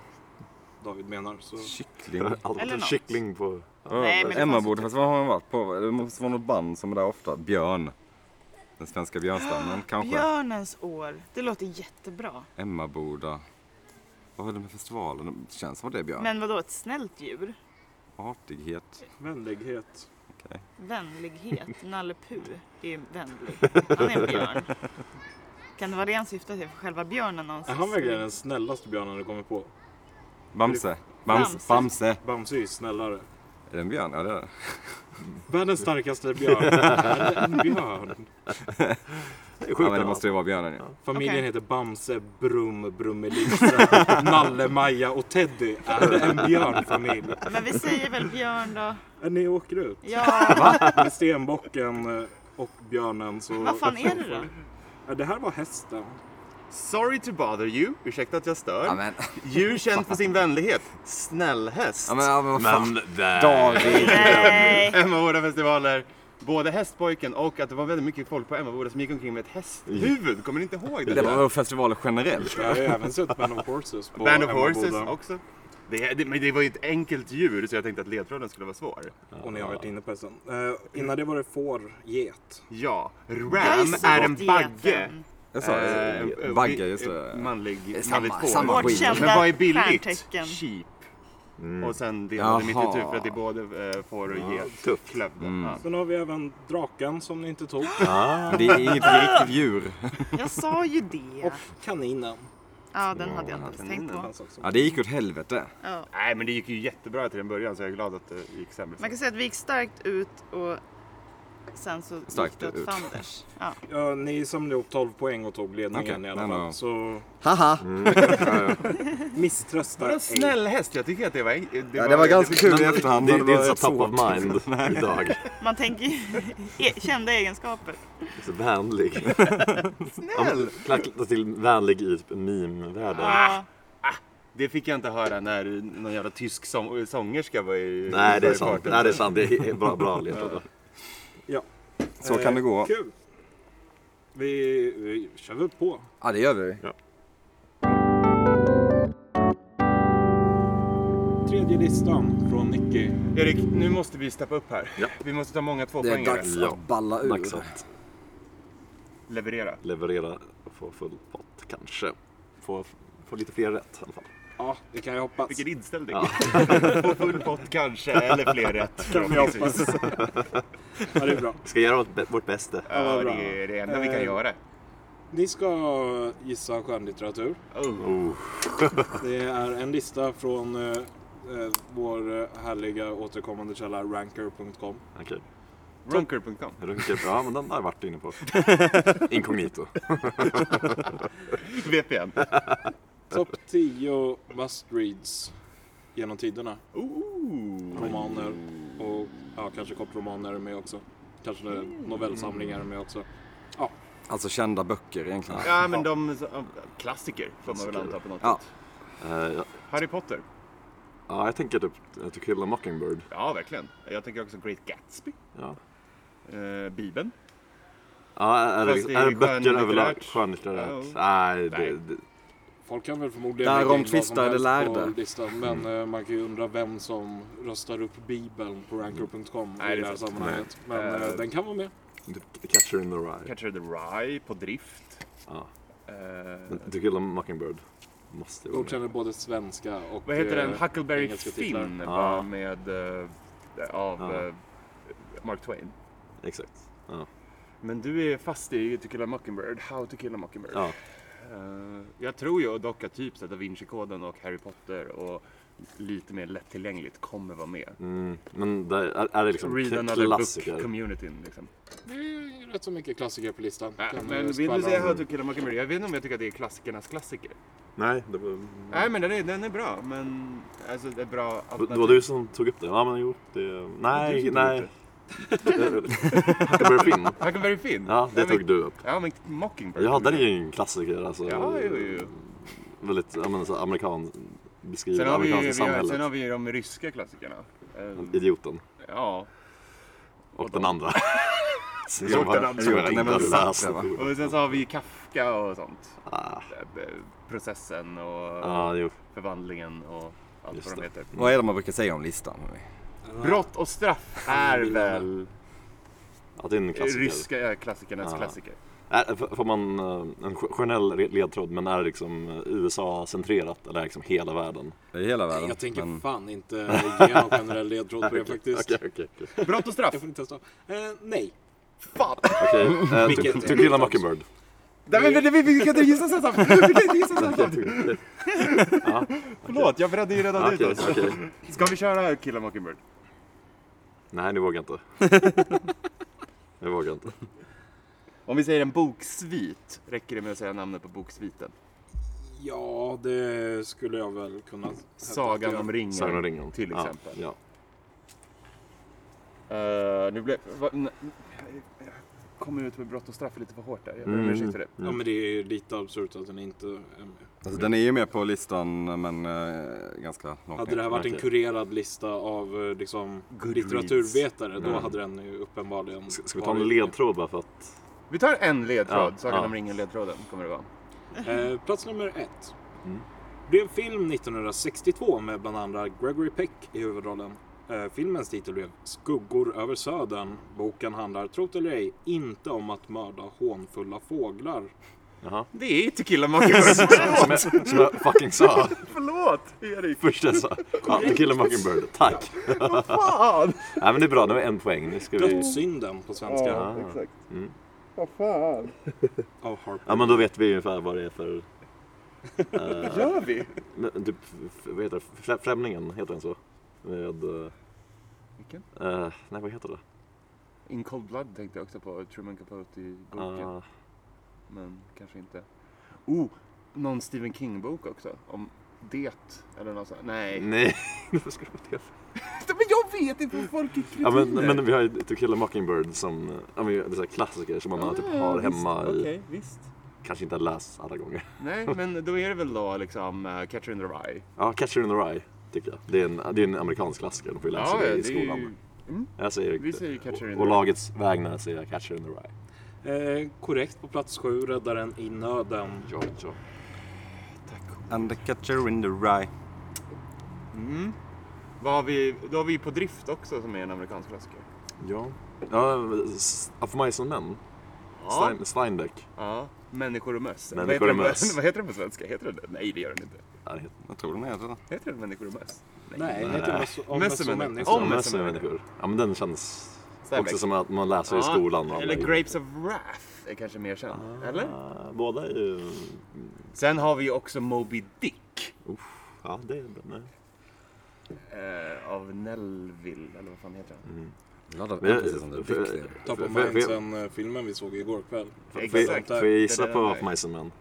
David menar. Så.
Kyckling.
Alltid
Eller
en
något.
kyckling på...
Nej, men det
Emma
fanns
borde fast vad har han varit på? Det måste vara något band som är där ofta. Björn. Den svenska björnstammen kanske.
Björnens år. Det låter jättebra.
Emmaboda. Vad var det med festivalen? Det känns som att det är björn.
Men vadå, ett snällt djur?
Artighet.
Vänlighet.
Alltså, Vänlighet. Nalle Puh är ju vänlig. Han är en björn. Kan det vara det han syftar till? För själva björnen
Är
någonstans?
han verkligen den snällaste björnen du kommer på?
Bamse. Bamse.
Bamse.
Bamse.
Bamse är ju snällare.
Är det en björn? Ja det är det.
Världens starkaste björn. Är det en björn?
Det är
Ja
sjukt.
men det
ändå.
måste ju vara björnen ju.
Familjen
Okej.
heter Bamse, Brum, Brummelisa, Nalle, Maja och Teddy. Är det en björnfamilj?
Men vi säger väl björn då?
När ni åker ut
Ja,
med stenbocken eh, och björnen så...
vad fan är det då?
Ja, Det här var hästen.
Sorry to bother you. Ursäkta att jag stör.
Ja men,
Djur känt för sin vänlighet. Snällhäst.
ja, men, ja, men vad fan.
Men där...
David.
Nej.
Emmaboda festivaler. Både Hästpojken och att det var väldigt mycket folk på Emmaboda som gick omkring med ett hästhuvud. Kommer ni inte ihåg det?
Det var festivaler generellt.
Jag har ju även sett Band of Horses på
Band of Horses
Emmaboda.
också. Det, det, men det var ju ett enkelt djur så jag tänkte att ledtråden skulle vara svår.
Och ni har varit inne på hästen. Eh, innan det var det får, get.
Ja,
Jag har
ram
ju
är en
sett
bagge.
geten.
Jag sa
Eh,
det.
en-
Bagge, just
en-
det.
Manlig,
samma-
manligt får.
samma
Vårt
Skit. Mm.
kända
Men vad är billigt?
stjärntecken.
Sheep. Och sen delade mitt
Jaha. Mm.
itu för att det är både eh, får och get. Klövde. Ja.
Sen har vi även draken som ni inte tog.
Men Det är inget riktigt djur.
Jag sa ju det.
Och kaninen.
Ja, den hade jag inte ens tänkt på.
fanns också.
Ja det gick åt helvete.
Ja.
Nej men det gick ju jättebra till en början så jag är glad att det gick sämre.
Man kan säga att vi gick starkt ut och sen så
Starkt
gick det
ut.
åt fanders. Ja.
Ja, ni samlade ihop 12 poäng och tog ledningen
Okej,
i alla fall.
nej, nej. Mm.
Så
Haha!
misströsta
Vadå
ej.
snäll häst? Jag tycker att det var... en- Det
Ja, det var ganska kul i
Men
efterhand.
Det,
men
det är
var
inte så top
svårt.
of mind idag.
Man tänker ju e- kända egenskaper.
Så vänlig.
Snäll!
Klacka till vänlig i typ meme-världen.
Ah,
Ja.
Det fick jag inte höra när någon jävla tysk sång, sångerska var i...
Nej, det är
var i
sant.
farten.
Nej, det är sant. Det är bra, bra ledtråd.
Så kan det gå.
Eh, Kul! Vi, vi kör väl på.
Ja det gör vi.
Tredje listan från Nicky.
Erik, nu måste vi steppa upp här.
Ja.
Vi måste ta många
Det är
tvåpoängare.
dags
Ja.
att balla ur.
Dags att
Leverera.
leverera och få full pott, kanske. Få, få lite fler rätt i alla fall.
Ja, det kan jag hoppas.
Vilken inställning.
Ja.
På full pott kanske, eller fler rätt.
Kan vi hoppas. Ja, det är bra.
Vi ska göra vårt, bä- vårt bästa.
Ja,
bra.
det är det enda vi kan
Eh.
göra.
Ni ska gissa skönlitteratur.
Oh.
Det är en lista från eh, eh, vår eh, härliga återkommande källa ranker.com.
Okej.
Runker.com.
Runker. Ja, men den har jag varit inne på. Inkognito.
VPN.
Topp 10 must reads genom tiderna.
Ooh.
Romaner och ja, kanske kortromaner är med också. Kanske novellsamlingar är med också.
Alltså kända böcker egentligen.
Ja, men de... Klassiker, får man väl anta på något
Ja.
sätt.
Eh, ja,
Harry Potter.
ja, jag tänker typ eh, To kill a mockingbird.
Ja, verkligen. Jag tänker också Great Gatsby.
Ja.
Eh, Bibeln.
Ja, är
Fast det
det,
är
är det böcker
skönlitterärt.
överlag? Skönlitterärt?
Ja. Nej.
Nej, det, det,
Folk kan väl förmodligen
Där
lägga in
om
vad som
tvistar
helst
det
på
lärde.
listan. Men eh, man kan ju undra vem som röstar upp Bibeln på ranker.com
Nej,
i
det är
det här
sant.
sammanhanget. Men
Eh.
eh, den kan vara med.
det, Catcher in the Rye.
Catcher the Rye på drift.
Ja.
Eh,
Men To kill a mockingbird måste ju vara med.
Godkänner både svenska och...
vad heter den?
eh,
Huckleberry
engelska titlar.
Finn
Ja.
var med eh, av
Ja.
eh, Mark Twain.
Exakt. Ja.
Men du är fast i To kill a mockingbird. How to kill a mockingbird.
Ja.
Eh, jag tror ju dock att typ så här Da Vinci-koden och Harry Potter och lite mer lättillgängligt kommer vara med.
Mm. Men det är, är det liksom
Read another book
klassiker?
communityn liksom.
Det är rätt så mycket klassiker på listan.
Äh,
Kan, eh,
men vill
skvallra om-
du säga How to kill a mockingbird? Jag vet inte om jag tycker att det är klassikernas klassiker.
Nej, det var,
Nej men den är, den är bra, men alltså det är bra
det var du som tog upp det. Ja, men jo. Det, nej, nej. Huckleberry Finn.
Huckleberry Finn?
Ja, det
Nej, men-
tog du upp.
Ja men Mockingbird.
Ja, den är ju en klassiker. Alltså,
Ja, jo, jo.
Väldigt ja, men, så amerikan, beskriver
Sen har, vi, ju-
amerikanska
vi har, sen
samhället.
har vi ju de ryska klassikerna. Ehm,
Idioten
ja.
och den andra. Som
Och den
jag,
andra.
som jag inte har läst.
Och sen så har vi ju Kafka och sånt.
Ah,
Eh, Processen och
Ja, jo.
förvandlingen och allt
Just
vad de
det.
heter.
Vad är det man brukar säga om listan?
Brott och straff är väl
Ja, det är en klassiker.
ryska eh, klassikernas
Ja.
klassiker.
Är, f- får man eh, en ge- generell re- ledtråd men är det liksom eh, USA-centrerat eller är det liksom hela världen?
Det är hela världen.
Jag tänker
men-
fan inte ge någon generell ledtråd på det faktiskt.
Okej, okej, okej.
Brott och straff.
Jag får inte testa. Eh, nej.
Fan!
Okej, eh,
Vilket
To-
är
To kill a
utan-
mockingbird.
Nej, men, men, men, vi kan inte gissa så här snabbt. Vi kan inte gissa så här snabbt. Förlåt, jag bredde ju redan ut
Okej,
oss.
okej.
Ska vi köra Kill a Mockingbird?
Nej, nu vågar jag inte. Jag vågar inte.
Om vi säger en boksvit, räcker det med att säga namnet på boksviten?
Ja, det skulle jag väl kunna. hävda att
Sagan
jag-
om ringen.
Sagan om ringen.
Till
Ja,
exempel.
Ja.
Eh, nu blev... Va, n- jag kom ut med brott och straff lite för hårt där. Jag ber om
Mm.
ursäkt för det.
Ja, men det är lite absurt att den inte eh, är med.
Alltså, den är ju med på listan men eh, ganska långt
Hade det här varit en
Okej.
kurerad lista av eh, liksom,
Goodreads.
litteraturvetare, då
Mm.
hade den ju uppenbarligen...
Ska, ska vi ta en ledtråd bara för att...
Vi tar en ledtråd.
Ja,
Sagan
ja.
om ringen-ledtråden kommer det vara.
Eh, plats nummer ett.
Mm.
Blev film 1962 med bland andra Gregory Peck i huvudrollen. Eh, filmens titel blev Skuggor över södern. Boken handlar, tro't eller ej, inte om att mörda hånfulla fåglar.
Jaha.
Det är To Kill a Mockingbird.
Som jag, som jag fucking sa
Förlåt, Erik.
först. Jag sa. Ja, to kill a mockingbird. Tack!
Fan!
Nej, men det är bra. Det var en poäng. Nu ska vi...
Dödssynden på svenska.
exakt.
Mm.
Vad fan.
Av Harper.
Ja, men då vet vi ungefär vad det är för... eh,
Gör vi?
Men typ, f- vad heter det? Frä- Främlingen, heter den så? Med... eh,
Vilken?
eh, nej, vad heter det?
In Cold Blood tänkte jag också på. Truman Capote i boken.
Ah,
Men kanske inte. Oh, någon Stephen King-bok också. Om det eller något sånt. Nej.
nej, varför skulle det vara det?
Men jag vet inte vad folk är
Ja, men,
kretiner.
men vi har ju To kill a mockingbird som... eh, Ja, men det är så här klassiker som man
Ja,
typ
ja,
har
visst.
hemma
Okej,
i...
visst.
Kanske inte har läst alla gånger.
Nej, men då är det väl då liksom eh, Catcher in the Rye.
Ja, Catcher in the Rye, tycker jag. Det är en, det är en amerikansk klassiker. De får ju läsa det alltså i
det är
skolan.
ju-
Jag säger,
Vi säger Catcher in the
och
Rye.
lagets vägnar säger jag Catcher in the Rye.
Eh, korrekt på plats sju, Räddaren i nöden.
Ja, ja.
And the catcher in the rye.
Mm. Vad har vi, då har vi På drift också som är en amerikansk klassiker.
Ja, ja s- Of Mice and Men. Stein, Steinbeck.
ja. Människor och möss.
Människor
Vad heter den
och
på-
möss.
Vad heter den på svenska? Heter den det? Nej, det gör den inte.
Ja, det heter-
Jag tror den heter det.
Heter den Människor och möss?
Nej, det heter Möss- om
Möss
möss
och
och
människor.
människor.
Om-
Ja, Möss
Möss
och
och
människor. Ja, men den känns
Steinbeck.
också som att man läser i
Ja,
skolan. och alla
Eller Ah.
är-
Grapes of Wrath är kanske mer känd. Eller?
Ja, Båda är ju...
Sen har vi ju också Moby Dick.
Ja, det är nej.
Eh, av Nelville, eller vad fan heter han?
Laddad
Men jag-
precis som det
för-
Dick lever.
Top of
Får jag-
mind
får jag-
sen eh, filmen vi såg igår kväll.
Får- Får jag-
Exakt.
får jag gissa
Det är den
på
här.
Of Mice and Men?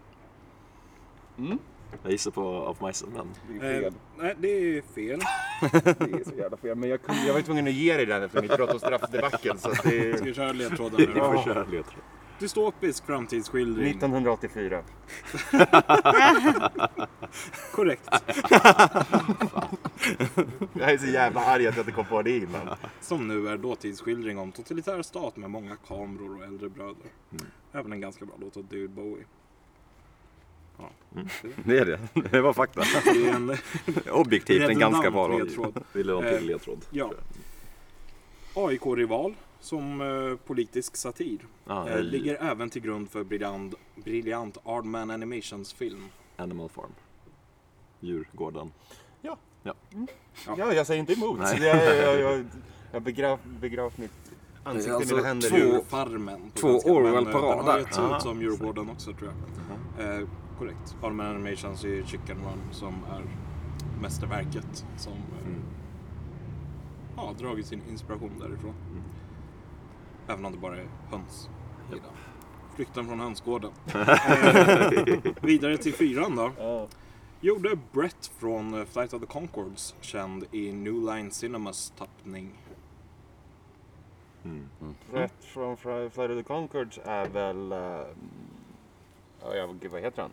Mm.
Jag gissar på Of Mice and Men.
Eh, nej, det är fel.
Det är så jävla fel. Men jag, kunde, jag var ju tvungen att ge dig den efter mitt brott och straffdebacle. Så att det
Ska
är
vi köra ledtråden nu
Vi får
då?
köra ledtråd.
Dystopisk framtidsskildring.
1984.
Korrekt.
Jag är så jävla arg att jag inte kom på det innan.
Som nu är dåtidsskildring om totalitär stat med många kameror och äldre bröder.
Mm.
Även en ganska bra låt av David Bowie.
Det är det. Det var fakta.
Det är en
Objektivt en ganska bra
redundant
roll.
ledtråd.
Vill du ha en
Eh,
till ledtråd?
Ja. AIK-rival som eh, politisk satir.
Ah,
Eh,
i
ligger även till grund för briljant, briljant Aardman Animations film.
Animal Farm. Djurgården.
Ja, jag säger inte emot.
Nej.
Jag, jag, jag, jag begrav, begrav mitt ansikte i
Alltså,
mina händer.
två-
Farmen. på
två
svenska,
Orwell
men, eh,
på rad
Den har
där.
getts ut som Djurgården också tror jag. Eh, korrekt. Armen Animations är ju Chicken Run som är mästerverket som
Mm.
eh, ja, dragit sin inspiration därifrån. Även om det bara är höns. i den. Flykten från hönsgården. eh, vidare till fyran då. Gjorde Brett från eh, Flight of the Conchords känd i New Line Cinemas tappning.
Mm.
Rätt från Fly Flight of the Conchords är väl... eh, ja, jag- gud, vad heter han?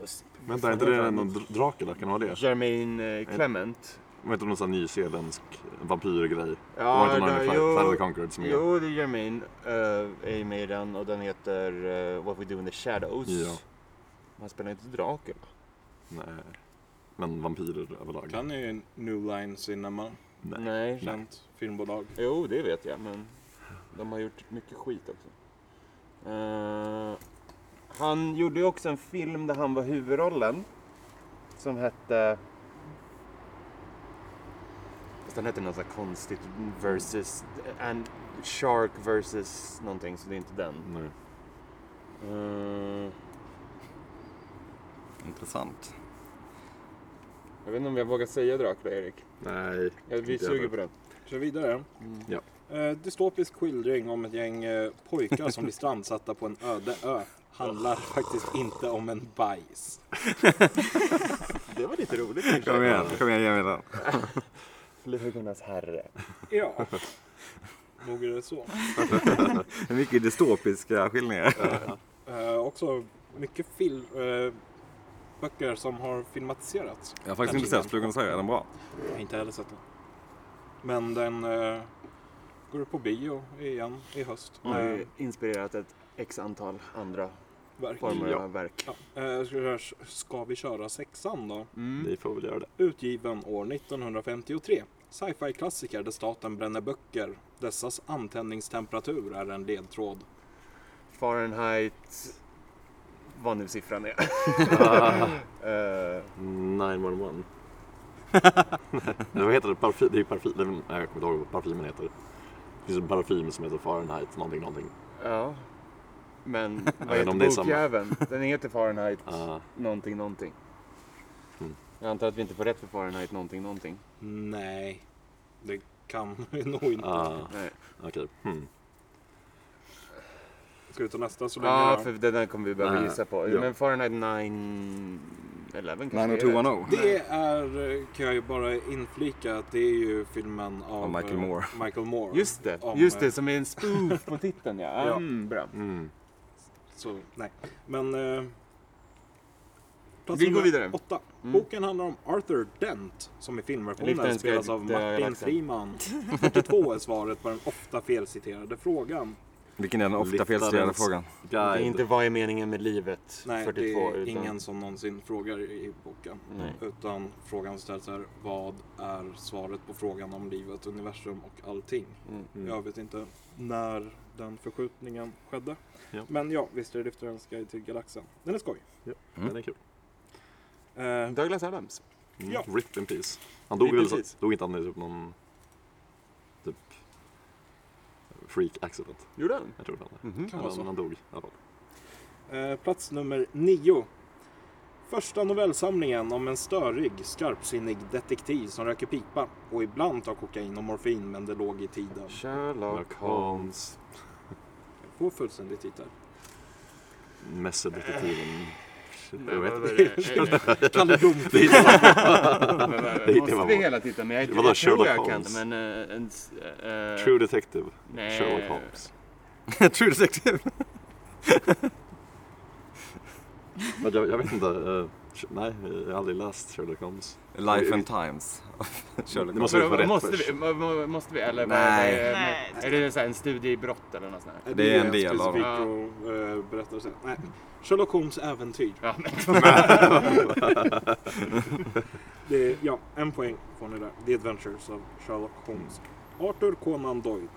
Just-
Vänta, är inte det någon dr- drake där? Kan det vara det?
Jermaine eh, Clement.
Jag vet inte om någon sån här nyzeeländsk vampyrgrej?
Ja,
var det inte någon
där-
i
jo.
Flight Flight of the Conchords som är...
Jo, det är Jermaine eh, är med i den och den heter eh, What We Do In The Shadows.
Ja.
Man spelar inte draken.
Nej. Men vampyrer överlag?
Kan ju New Line Cinema,
Nej.
Nej.
känt filmbolag.
Jo, det vet jag, men de har gjort mycket skit också. Eh, han gjorde ju också en film där han var huvudrollen. Som hette... Fast den hette något så här konstigt. Versus... And Shark versus någonting, så det är inte den.
Nej.
Eh,
Intressant.
jag vet inte om jag vågar säga Dracula, Erik.
Nej.
Jag, vi
Inte jag
suger
vet.
på den.
Kör vidare.
Ja.
Eh, dystopisk skildring om ett gäng eh, pojkar som blir strandsatta på en öde ö. Handlar faktiskt inte om en bajs.
Det var lite roligt kanske.
Kom igen, kom igen, ge mig den.
Flugornas herre.
Ja. Nog är det så.
Det är Mycket dystopiska skildringar.
Eh, också mycket film, eh, böcker som har filmatiserats.
Jag har faktiskt inte sett Flugornas herre, är den bra?
Jag har inte heller sett den. Men den eh, går upp på bio igen i höst. Eh,
Inspirerat ett x antal andra
verkligen.
former
Ja.
av verk.
Ja. Eh, jag skulle säga, ska vi köra sexan då?
Mm.
Vi får väl göra det.
utgiven år 1953. Sci-fi-klassiker där staten bränner böcker. Dessas antändningstemperatur är en ledtråd.
Fahrenheit, vad nu siffran är.
Ah,
Eh,
911. Nej, vad heter det? Parfym? Det är ju parfym. det är- Nej, jag kommer inte ihåg vad parfymen heter. Det finns en parfym som heter Fahrenheit någonting någonting.
ja. Men vad
vet inte
heter
om det är samma.
bokjäveln? Den heter Fahrenheit
Ah.
någonting någonting.
Mm.
Jag antar att vi inte får rätt för Fahrenheit någonting någonting.
Nej, det kan vi nog inte.
Ah,
Nej.
Okej. Hmm.
Ska vi ta nästa så länge?
Ja,
då?
för den där kommer vi behöva
Nej.
gissa på.
Ja.
Men Fahrenheit 9... 11 kanske det är.
90210.
Det är, eh, kan jag ju bara inflika, att det är ju filmen av
Av Michael
eh,
Moore.
Michael Moore.
Just det,
Om,
just
eh,
det, som är en spoof på titeln ja.
Ja.
Mm, bra.
Mm.
Så, nej. Men... Eh, plats
Vi går
nummer
vidare.
Åtta.
Mm.
Boken handlar om Arthur Dent som i filmversionen
Lichtenstein
spelas
ska
av
dö, eh, jag har
Martin
lagt den.
Friman. 42 är svaret på den ofta felciterade frågan.
Vilken är den ofta
Lyfta
felställd
den.
frågan?
Det är
Guide.
inte vad är meningen med livet
Nej,
42
det är
utan...
ingen som någonsin frågar i boken.
Nej.
Utan frågan ställs här, vad är svaret på frågan om livet, universum och allting?
Mm.
Jag vet inte när den förskjutningen skedde.
Ja.
Men ja, visst är det Lyftarens guide till galaxen. Den är skoj.
Den är kul.
Eh,
Douglas Adams.
Mm.
Ja.
Rip in peace. Han dog
Rip in
väl så,
peace.
dog inte han i typ någon typ freak accident?
Gjorde han?
Jag tror fan det.
Mhm.
kan vara så.
Men han dog i alla fall.
Eh, plats nummer nio. Första novellsamlingen om en störig, skarpsinnig detektiv som röker pipa och ibland tar kokain och morfin men det låg i tiden.
Sherlock
Holmes.
Jag får fullständig titel.
Messedetektiven. Jag vet inte.
Kalle Blom.
Det
Måste vi
var bra.
hela tiden? Men jag,
Vadå,
jag tror
Sherlock
jag kan
Holmes?
inte. Men... eh, en s- eh,
True Detective.
nej.
Sherlock Holmes.
True detective.
Men jag, jag vet inte. eh, nej, jag har aldrig läst Sherlock Holmes.
Life and times. Sherlock
Det måste
Holmes.
vi få rätt
Måste
först.
vi, må- må- måste vi eller?
Nej.
Är,
Nej.
är det så här en studie i brott eller något sånt här?
Det är en del av
specifik
dem.
dem. berättelse. Nej. Sherlock Holmes äventyr.
Ja,
det är, ja, en poäng får ni där. The Adventures of Sherlock Holmes. Arthur Conan Doyle.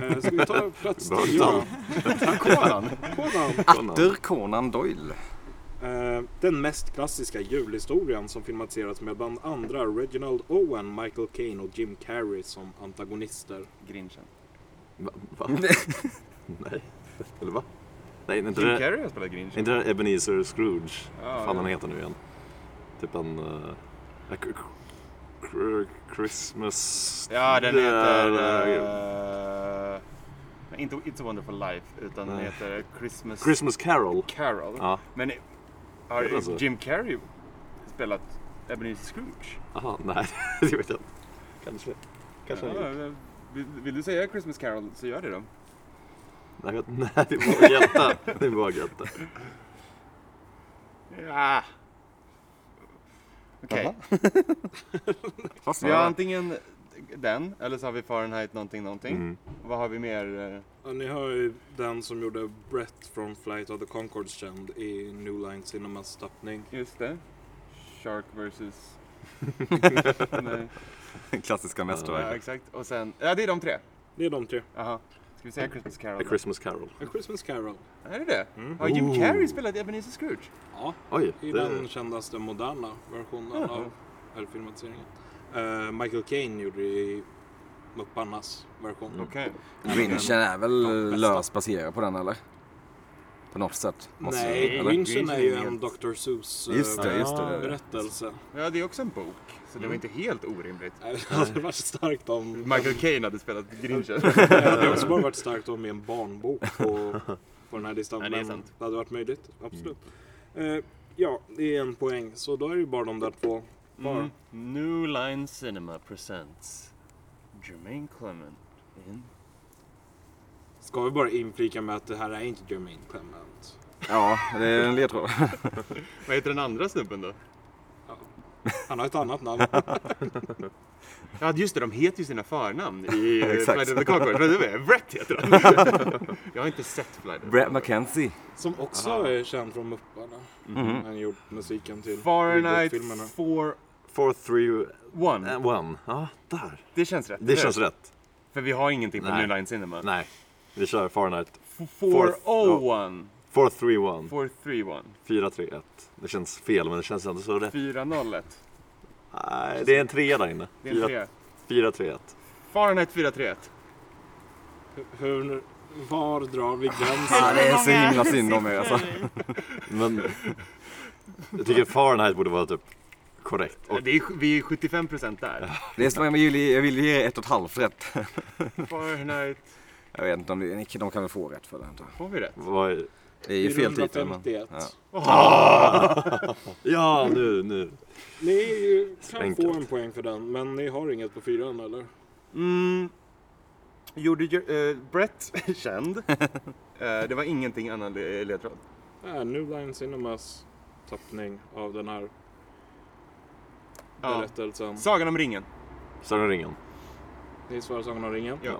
Eh, ska vi ta plats
Bra
tio? då?
namn.
Kolan.
Conan.
Arthur Conan Doyle.
Eh, Den mest klassiska julhistorien som filmatiserats med bland andra Reginald Owen, Michael Caine och Jim Carrey som antagonister.
Grinchen.
Va? Va? Nej. Eller va? Nej, inte
Jim
det,
Carrey har spelat Grinch.
är inte det Ebenezer Scrooge? Vad fan
ja.
han heter nu igen? Typ en... eh, a cr- cr- Christmas...
Ja, den
Eh,
heter...
eh,
eh, nej, inte It's a wonderful life, utan den
Nej.
heter Christmas,
Christmas Carol.
Carol.
Ja.
Men eh, har
Det är alltså- så.
Jim Carrey spelat Ebenezer Scrooge?
Aha, nej, det vet jag inte. Kanske. Kanske han gjort.
Ja, eh, vill, vill du säga Christmas Carol så gör det då.
Nej, jag- nej, det var Götta. Det var Götta.
Ja. Okej,
Fast,
vi har antingen den eller så har vi Fahrenheit någonting någonting.
Mm.
Vad har vi mer? eh?
Ja, ni har ju den som gjorde Brett från Flight of the Conchords känd i New Line Cinemas tappning.
Just det. Shark versus... Nej.
Klassiska
Ja,
mästerverk.
exakt. Och sen... Ja, det är de tre.
Det är de tre.
Aha. Ska vi säga
Mm.
Christmas Carol?
A
då?
Christmas Carol.
A Christmas Carol.
Är det det?
Mm.
Har Jim
Ooh.
Carrey spelat Ebenezer Scrooge?
Ja,
Oj,
i den kändaste moderna versionen av eller filmatiseringen. Eh, Michael Caine gjorde det i Mupparnas version.
Okej.
Grinchen är
De
väl
bästa.
löst baserad på den eller? På något sätt? Måste,
Nej,
Alltså, eller?
Grinchen Alltså, är ju
är
en Dr. Seuss eh,
Just det, just det. det, är det.
berättelse.
Ja, det är också en bok. Så
Mm.
det var inte helt orimligt.
Nej, Det hade varit starkt om...
Michael Caine hade spelat Grinchen.
Det hade också bara varit starkt om en barnbok på, på den här listan.
Ja, det är
men
sant.
det hade varit möjligt, absolut. Eh, ja, det är en poäng. Så då är det ju bara de där två kvar.
Mm. New Line Cinema presents Jermaine Clement in...
Ska vi bara inflika med att det här är inte Jermaine Clement?
Ja, det är en ledtråd.
Vad heter den andra snubben då?
Han har ett annat namn.
Ja, just det. De heter ju sina förnamn i eh,
Exakt.
Flight of the Conchords. Vad heter det? Brett heter han. Jag har inte sett Flight of the
Brett
Conchords.
McKenzie.
Som också är känd från Mupparna. Han gjort musiken till
Fahrenheit
filmerna
4...
4, 3,
One.
1. Ja, där.
Det känns rätt.
Eh, Det känns rätt.
För vi har ingenting på
Nej.
New Line Cinema.
Nej, vi kör Fahrenheit.
401.
4, 3, 1.
431.
4, 3, 1. Det känns fel, men det känns ändå så rätt.
401.
Nej, det är en 3 där inne.
Det är en
4,
trea.
4 3, 1.
Fahrenheit 431.
Hur, var drar vi gränsen?
Ja, det är så
Många
himla synd om er alltså.
siffror.
Men jag tycker Fahrenheit borde vara typ korrekt. Och
Det är, sj- vi är 75 procent där.
Det är som, jag, vill, jag vill ge er ett och ett halvt rätt.
Fahrenheit.
Jag vet inte om det, ni- de kan väl få rätt för det antar jag.
Får vi rätt?
vad är...
Det är ju fel titel. Men,
451.
ja.
Ja, nu, nu.
Ni är ju, kan
Enkelt.
få en poäng för den, men ni har inget på fyran eller?
Mm. Gjorde uh, Brett känd. Eh, det var ingenting annan le- ledtråd.
Nej, Eh, New Line Cinemas tappning av den här
Ja.
berättelsen.
Sagan om ringen.
Sagan om ringen.
Ni svarar Sagan om ringen?
Ja.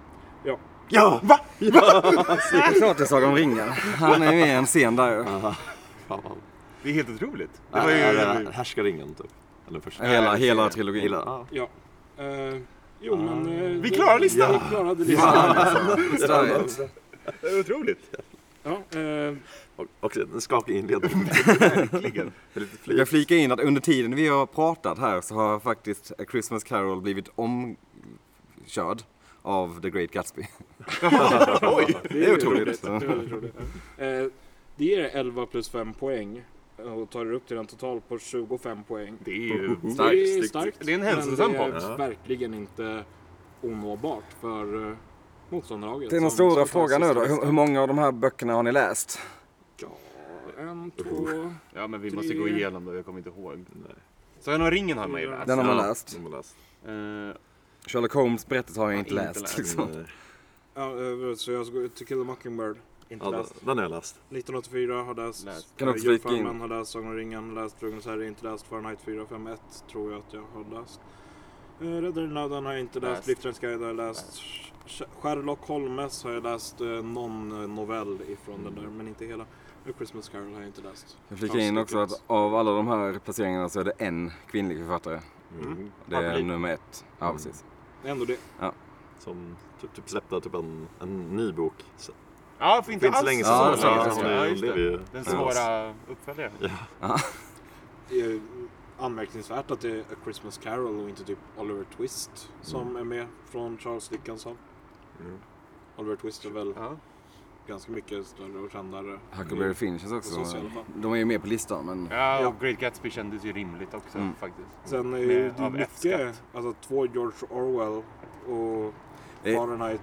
Ja! Va?
Det är klart det är Sagan om ringen. Han är med i en scen där ju.
Fan.
Det är helt otroligt. Det
Det
var ju...
Härskaringen typ. Eller första.
Hela,
jag ser
hela
det.
trilogin.
Hela. ja.
Ja. Eh, jo, men...
Ah.
eh,
Vi
det-
klarar listan!
Vi klarade listan.
Störigt.
Det är otroligt.
Ja, eh,
Och, och en skakig inledning.
Verkligen.
Jag kan flika in att under tiden vi har pratat här så har faktiskt A Christmas Carol blivit omkörd av The Great Gatsby.
det
är otroligt.
roligt. Det, är väldigt roligt. Eh, det ger 11 plus 5 poäng eh, och tar er upp till en total på 25 poäng.
Det är ju...
det är
Starkt.
starkt.
Det är en
men
hälsosam
det är
podd.
verkligen inte onåbart för eh, motståndarlaget.
Det är den
som
stora
ska ta
frågan nu
sista
då. Hur,
listan.
hur många av de här böckerna har ni läst?
Ja, en, två...
Ja, men vi måste gå
Tre.
igenom det. Jag kommer inte ihåg. Sagan om ringen har man ju läst.
Den har man
Ja,
läst.
den har läst.
Eh,
Sherlock Holmes berättelse har jag inte
inte
läst.
läst.
Liksom.
Nej.
Ja, eh, så jag ska gå ut till Kill a Mockingbird. Inte
Ja, den-
läst.
den har jag läst.
1984 har läst.
Läst.
Kan
eh,
också flika in.
Djurfarmen har läst. Sagan om ringen har läst. Drogens herre inte läst. Fahrenheit 451 tror jag att jag har läst. Eh, Räddaren Nöden har jag inte läst.
Läst.
Liftarens guide har jag läst. Sh- Sherlock Holmes har jag läst eh, någon eh, novell ifrån den där, men inte hela. Och Christmas Carol har jag inte läst.
Jag flika in också att av alla de här placeringarna så är det en kvinnlig författare.
Mm.
Det är
Adelig.
nummer ett. Ja, precis.
Ändå det.
Som typ, typ släppte typ en, en ny bok. Så,
Ja, för inte alls
inte så länge
Ja,
sedan.
det
hon
var länge sedan.
är-
Ja,
hon
just
lever
det.
ju.
Den
med oss.
svåra uppföljaren.
Det är eh, anmärkningsvärt att det är A Christmas Carol och inte typ Oliver Mm.
Mm.
Twist som är med från Charles Dickens. håll. Oliver Twist är väl
Ja.
ganska mycket större och kändare.
Huckleberry Finn känns
På
också...
sociala fall.
Mm.
De är ju med på listan men...
Ja, och Great Gatsby kändes ju rimligt också
Mm.
faktiskt.
Sen är ju
Med-
det
av
mycket,
F-skatt.
alltså två George Orwell och
Eh.
Fahrenheit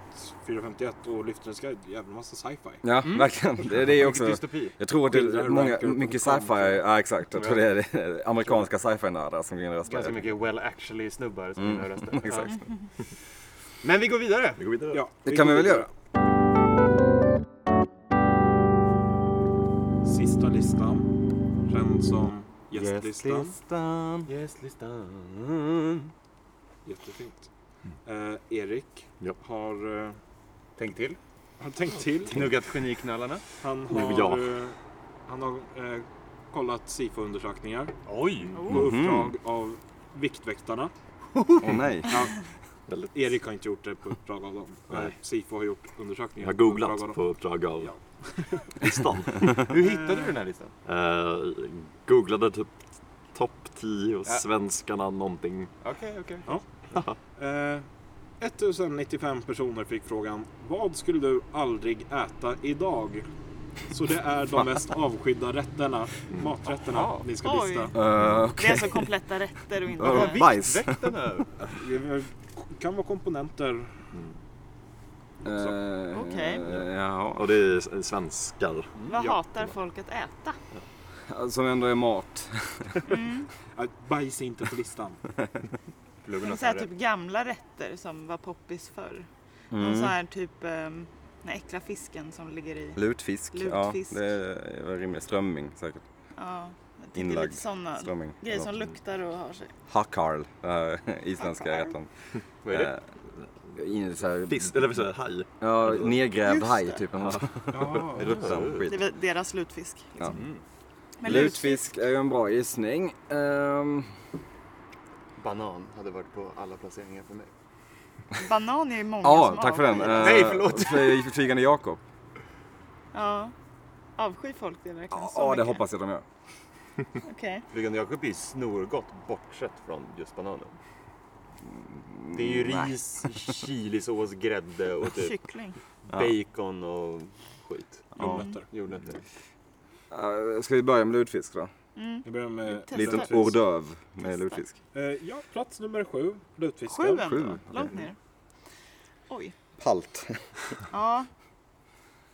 451 och Lyftarens guide, jävla massa sci-fi.
Ja, verkligen. Det, det är ju också...
Dystopi.
Jag tror att det
Skildrar
är
hur
många,
rankar och
mycket
kom
sci-fi,
till.
ja exakt. Jag tror det är det är amerikanska sci-fi-nördar som går in och
Ganska
röstar.
mycket well actually snubbar som
Mm.
mm. röster.
Exakt.
Ja. Men vi går vidare.
Vi går vidare.
Ja,
Det kan vi väl göra?
Sista listan, känd som gästlistan.
Gästlistan. Gästlistan.
Jättefint. Eh, Erik
Ja.
har, eh,
Tänk till.
har tänkt till.
Knuggat geniknallarna.
Han
Nu
har,
ja.
eh, han har eh, kollat SIFO-undersökningar
Oj!
på
Oh.
uppdrag av Viktväktarna.
Åh nej.
Ja,
Väldigt-
Erik har inte gjort det på uppdrag av dem.
Nej.
Eh, SIFO har gjort undersökningar.
Jag har
på uppdrag av
googlat
dem.
på uppdrag av
Ja.
listan.
Hur hittade du den här listan?
Eh, googlade typ topp 10 och svenskarna någonting. Mm.
Okej, okej.
Eh, 1095 personer fick frågan Vad skulle du aldrig äta idag? Så det är de mest avskydda rätterna, maträtterna, ni ska
Oj.
lista.
Uh,
Det är alltså kompletta rätter och
Ja,
inte...
Bajs.
Viktväktarna.
Det kan vara komponenter.
Mm.
Eh,
Okej.
Ja,
Och det är s- svenskar.
Vad hatar folk att äta? Mm.
som ändå är mat.
Eh, Bajs är inte på listan.
Klubben har
Så här
färre.
typ gamla rätter som var poppis förr. Någon
Mm.
så här typ um, den äckla fisken som ligger i.
Lutfisk.
Lutfisk.
Ja, det är var rimligt. Strömming säkert.
Ja, jag tycker
Inlagd.
lite sådana
Strömming.
grejer som luktar och har sig.
Hakarl, uh, isländska
Hakarl.
rätten.
Vad är det?
Eh, in i så här-
Fisk, eller vad säger jag, haj.
Ja, nedgrävd
Just
haj
det.
typ. Ja.
Ja,
Rutten
Det är
skit.
väl deras lutfisk. Liksom. Men lutfisk.
Lutfisk är ju en bra gissning. Ehm,
typ-
Banan hade varit på alla placeringar för mig.
Banan är ju många
Ja,
som
tack för den.
avskyr.
Eh,
Nej, förlåt.
fly- Flygande Jakob.
Ja. Avskyr folk det verkligen
Ja,
så
ja, det
mycket?
hoppas jag de gör.
Okej.
Flygande Jakob är ju snorgott bortsett från just bananen. Det är ju ris, chilisås, grädde och typ
Kyckling.
bacon och skit.
jordnötter.
Jordnötter.
Eh, Ska vi börja med lutfisk då?
Mm.
Vi börjar med...
Testa.
Liten
Lutfisk.
hors d'oeuvre med
Testa.
lutfisk.
Eh, ja, plats nummer sju, lutfiskar.
Sju ändå.
Sju,
Långt ner. Oj.
Palt.
Ja.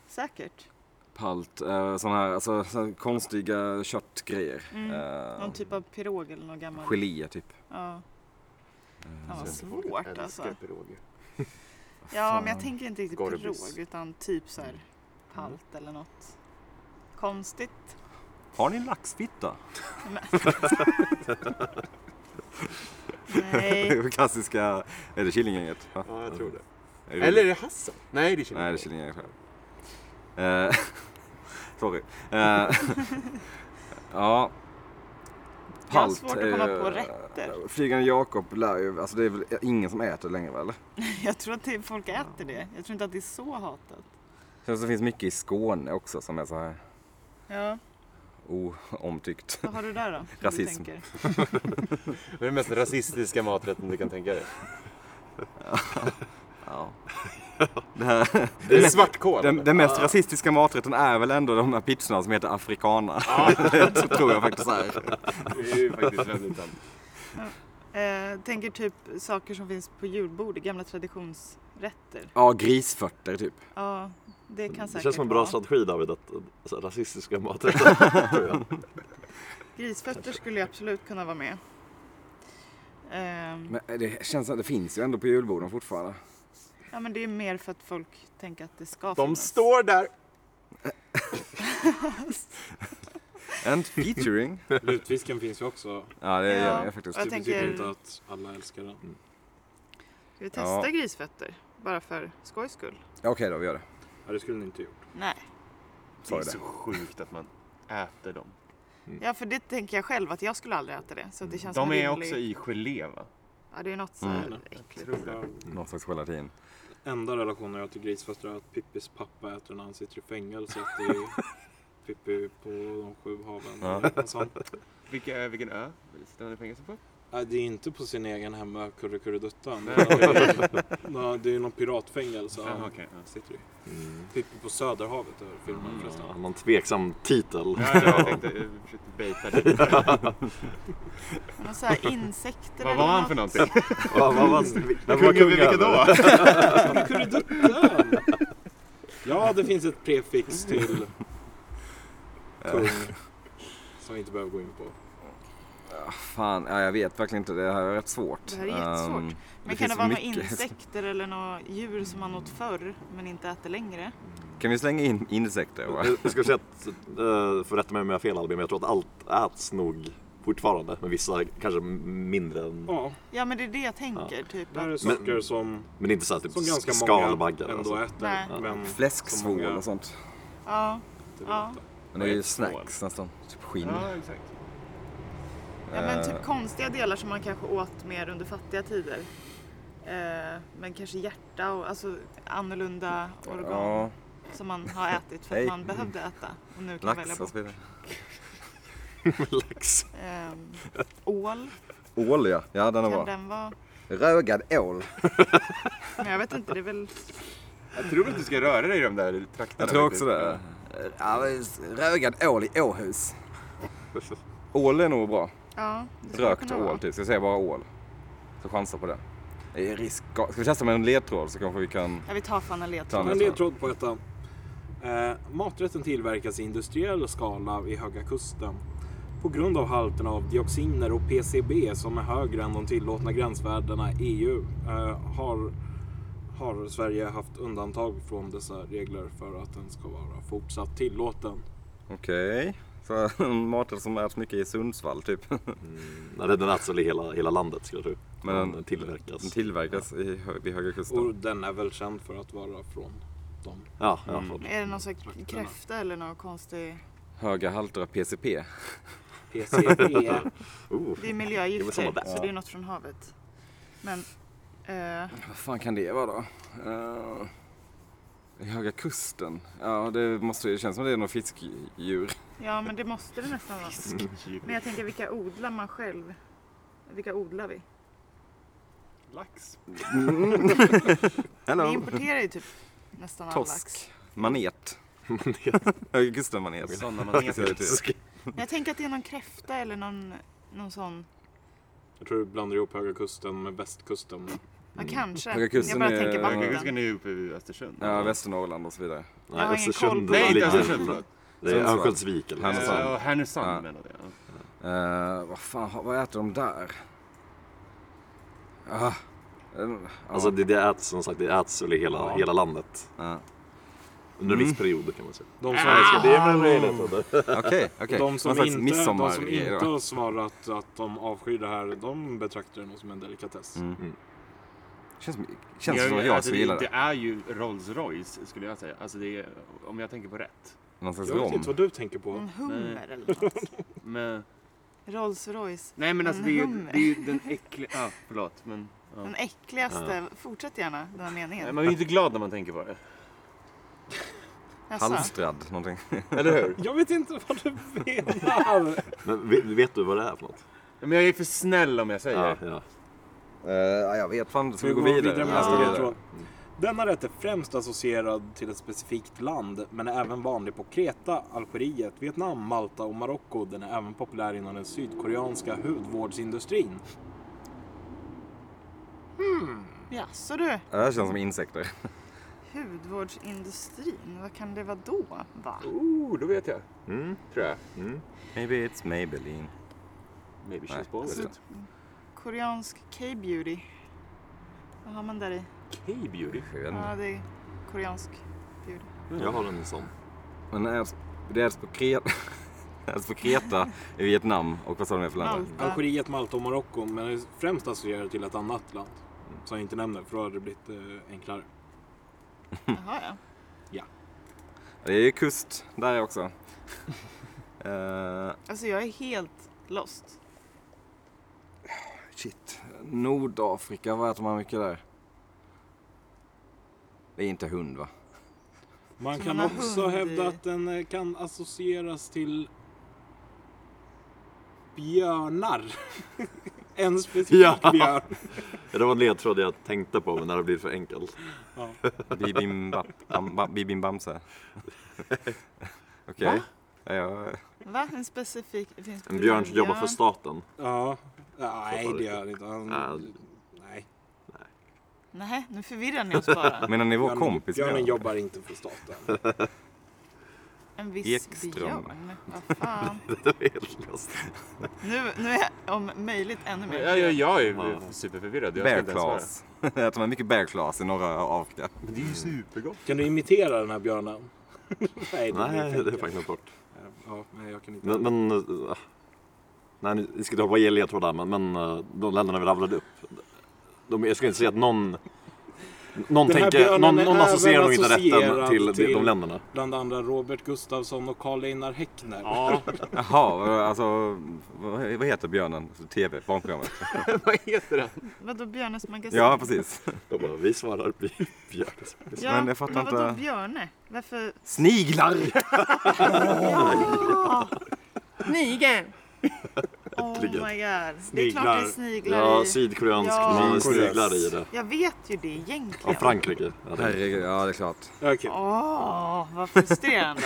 Säkert.
Palt, eh, såna här, alltså, såna här konstiga köttgrejer.
Någon
Mm.
typ av pirog eller något gammalt.
Geléer typ. Eh,
Ja. Fan vad
Folk
svårt
älskar
alltså.
piroger.
Ja, men jag tänker inte riktigt
Gorbis.
pirog utan typ så här palt eller något. Konstigt.
Har ni en laxfitta?
Nej.
Klassiska, är det Killinggänget? va?
Ja, jag tror det.
Är det-
Mm. Eller är det Hassan? Nej, det är
Nej, det är
Killinggänget.
Killinggänget själv. Eh, sorry. Eh, ja.
Jag har
Palt eh,
svårt
är
att komma
ju-
på rätter.
Flygande Jakob lär ju, alltså det är väl ingen som äter längre väl?
Jag tror att det- folk äter det. Jag tror inte att det är så hatat.
Sen så finns mycket i Skåne också som är så här
Ja,
oomtyckt.
vad har du där då? som du
Rasism.
tänker?
Det är den mest rasistiska maträtten du kan tänka dig.
Ja. Det, här,
Det är svartkål.
den, den mest rasistiska maträtten är väl ändå de här pizzorna som heter africana.
Ah,
det tror jag faktiskt är.
Det är ju faktiskt väldigt sant.
Eh, tänker typ saker som finns på julbord, gamla traditionsrätter.
Ja, grisfötter typ.
Ja, det kan säkert
Det känns som en bra
vara.
strategi David, att alltså, rasistiska maträtter. tror jag.
Grisfötter skulle ju absolut kunna vara med. Ehm,
Men eh, det känns som att det finns ju ändå på julborden fortfarande.
Ja, men det är mer för att folk tänker att det ska
De står där.
And featuring.
Lutfisken finns ju också. Alltså,
Ja, det
Ja.
gör jag faktiskt.
Jag
Det
tänker-
betyder inte att alla älskar den.
Ska vi testa
Ja.
grisfötter? Bara för skojs skull?
Ja, Okej då, vi gör det.
Ja, det skulle ni inte gjort.
Nej.
Det är
Sorry
så
det.
sjukt att man äter dem.
Ja, för det tänker jag själv att jag skulle aldrig äta det. Så att det känns
De
som en
är
rimlig-
också i gelé va?
Ja, det är något så här äckligt.
För
Någon slags gelatin.
Enda relationen jag har till grisfötter är att Pippis pappa äter när han sitter i fängelset i Pippi på de sju haven. eller något sånt.
Vilka, vilken ö sitter han i fängelse på?
Nej, det är inte på sin egen hemö Kurrekurreduttan. Det är- Nej, det är ju någon piratfängelse han
okej, ja.
sitter i.
Mm.
Sitter på Söderhavet över filmen förresten.
Ja, någon tveksam titel.
Ja, jag tänkte, jag försökte baita dig.
Någon så här insekter
Vad
eller
var han för
något.
någonting?
Vad vad var vem var
Kung över vilka då?
Kurrekurreduttan! Ja, det finns ett prefix till
Eh.
kung. Som vi inte behöver gå in på.
Ah, Fan, ja, jag vet verkligen inte. Det här är rätt svårt.
Det här är jättesvårt.
Ehm,
Men kan det
finns
vara några
mycket.
insekter eller några djur som man åt förr men inte äter längre?
Kan vi slänga in insekter? Va?
Jag skulle säga att, eh, får rätta mig om jag har fel Albin, men jag tror att allt äts nog fortfarande. Men vissa kanske mindre än...
Ja,
Ja men det är det jag tänker. Typ.
det här är
att-
saker som,
Men det är inte så här typ
som ganska många
skalbaggar.
ändå
alltså.
äter.
Nej.
Men som
Fläsksvål
många
och sånt.
Ja,
inte vill
ja.
äta.
Men det är ju snacks nästan. Typ skinn.
Ja, exakt.
ja men
Eh.
typ konstiga delar som man kanske åt mer under fattiga tider. Eh, men kanske hjärta och alltså annorlunda organ
Ja,
som man har ätit för
Hej.
att man behövde äta. Och nu kan välja
lax och
bort.
så vidare.
Lax.
Ehm, ål,
Ål ja, ja den är bra.
kan den vara?
Rögad ål.
Men jag vet inte, det är väl...
Jag tror att du ska röra dig i de där trakterna.
Jag tror också
faktiskt.
det. Ja, men Rögad ål i Åhus. Ål är nog bra.
Ja, det skulle
Rökt
kunna vara.
ål typ. Ska jag säga bara ål? Så chansa på det. Det är risk. Ska vi testa med en ledtråd så kanske vi kan...
Ja, vi tar fan en
Ta en
ledtråd.
En ledtråd på ettan. Eh, maträtten tillverkas i industriell skala vid Höga Kusten. På grund av halterna av dioxiner och PCB som är högre än de tillåtna gränsvärdena i EU eh, har, har Sverige haft undantag från dessa regler för att den ska vara fortsatt tillåten.
Okej. Så en maträtt som äts mycket i Sundsvall typ.
Nej, den äts väl i hela, hela landet skulle jag tro.
Men
Men
den-
den tillverkas.
Den tillverkas i, hö- vid Höga
Och
Kusten.
den är väl känd för att vara från dem.
Ja, ja, förlåt.
Är det någon sån här kräfta eller någon konstig...
Höga halter av PCP.
PCB.
Oh.
Det är
Det är väl samma
miljögifter,
där.
så det är något från havet. Men... Eh,
Vad fan kan det vara då? Eh, I Höga Kusten? Ja, det måste det känns som det är något fiskdjur.
ja, men det måste det nästan vara. Men jag tänker, vilka odlar man själv? Vilka odlar vi?
Lax.
Hello.
Vi importerar ju typ nästan all lax.
Torsk. Manet. Höga Kusten manet.
Sådana man typ. heter.
Men jag tänker att det är någon kräfta eller någon, någon sån...
Jag tror du blandar ihop Höga Kusten med Västkusten.
Ja, kanske.
Höga
Jag
kusten
bara
är-
tänker
Höga
Kanske ska
vatten.
ni upp i Östersund?
Ja, Västernorrland och så vidare.
Jag har ingen koll på-
Nej, inte
alltså, ligger-
Östersund. förlåt.
Det är
Sundsvall.
Örnsköldsvik eller något
Härnösand.
sånt.
Ja, Härnösand
Ja.
menade jag.
Eh, vad fan, har- vad äter de där? Ah, en- ja,
Alltså det, det äts som sagt, det äts väl i hela, hela landet.
Ja.
Under en viss period kan man säga. Ah.
De som
Det är väl möjligt.
Okej,
De
okej.
som,
Någon slags
inte,
midsommar-
de som
grej
inte
då.
har svarat att de avskyr det här, de betraktar det nog som en delikatess.
Mm. Känns, som- känns som att jag
alltså,
skulle gilla
Det
det.
är ju Rolls Royce skulle jag säga. Alltså det är, om jag tänker på rätt.
Någon slags
Jag vet
rom.
inte vad du tänker på.
En hummer eller något.
Men,
Rolls Royce.
nej men alltså
En
det är, ju-
hummer.
det är ju den äckliga... Ja, förlåt. Men, ja.
Den äckligaste. Fortsätt gärna den här
Nej,
meningen.
Man är ju inte glad när man tänker på det.
Jaså?
Halstrad någonting.
Eller hur?
Jag vet inte vad du menar!
Men vet, vet du vad det är för något?
Ja, Men jag är för snäll om jag säger.
Ja, ja.
Eh, ja, jag vet fan. Ska vi gå
går
vidare?
med
Ja,
nästa
vidare.
ledtråd. Denna rätt är främst associerad till ett specifikt land, men är även vanlig på Kreta, Algeriet, Vietnam, Malta och Marocko. Den är även populär inom den sydkoreanska hudvårdsindustrin.
Jaså du?
Ja, Det här känns som insekter.
Hudvårdsindustrin, vad kan det vara då? Va?
Oh, då vet jag. Tror jag.
Maybe it's Maybelline.
Maybe
Nej,
she's bald.
just
Koreansk K-beauty. Vad har man där i?
K-beauty.
Jag vet inte.
Ja, det är koreansk beauty.
Jag har en sån.
Men det äts- det äts på Kreta. det äts på Kreta i Vietnam och vad sa du mer för länder?
Malta.
Algeriet, Malta och Marocko, men är främst associerad till ett annat land. Som jag inte nämner, för då hade det blivit eh, enklare.
Jaha, ja.
Det är ju kust där också. Eh,
Alltså jag är helt lost.
shit. Nordafrika, vad äter man mycket där? Det är inte hund va?
Man
Som
kan
en
också
hund i-
hävda att den eh, kan associeras till björnar. en specifik
Ja.
björn.
Det var en ledtråd jag tänkte på, men det hade blivit för enkelt.
Bibim bap- bam- bam- Bibim Bamse. Okej. Ja, jag-
Va? En specifik... det Finns
En björn som jobbar för staten. Äh,
Ja. Nej, det gör han inte.
Ja.
Han, nej.
Nej, nu förvirrar ni oss bara.
Menar ni vår
Björnen,
kompis? menar
björnen
jag?
jobbar inte för staten.
En viss
Ekström.
björn. Vad fan.
Det var helt löst.
Nu, nu är jag om möjligt ännu mer
Ja, ja, jag är superförvirrad. Jag ska
Bear
inte ens svara.
claws. Jag äter man mycket bear claws i norra Afrika.
Men det är ju supergott.
Kan du imitera den här björnen? nej, det
Nej,
blir
det är
fel.
faktiskt bort.
Ja, nej, jag kan inte.
Men, men eh, nej, ni ska inte hålla på och ge ledtrådar, men, men eh, de länderna vi rabblade upp. De, jag skulle inte säga att någon... Någon,
Den här
tänker,
björnen
någon,
är
någon associerar
även
nog inte rätten
associerad
till, de-
till-
de länderna.
Bland andra Robert Gustafsson och Karl-Einar Häckner.
Ja,
Jaha, alltså vad vad heter björnen? TV, barnprogrammet?
vad heter den?
Vadå Björnes magasin?
Ja, precis.
De bara, vi svarar bj- björn.
Ja,
Men jag fattar
vadå
inte.
Björne? Varför?
Sniglar!
Ja! Snigel! Oh my god.
Äntligen.
Det är klart det är sniglar
Ja,
i.
sydkoreansk.
Ja.
De har
Sydkorea.
sniglar i det.
Jag vet ju det
Ja,
egentligen.
Frankrike. Ja, det
Herregud, ja det är klart.
Okej.
Åh, vad frustrerande.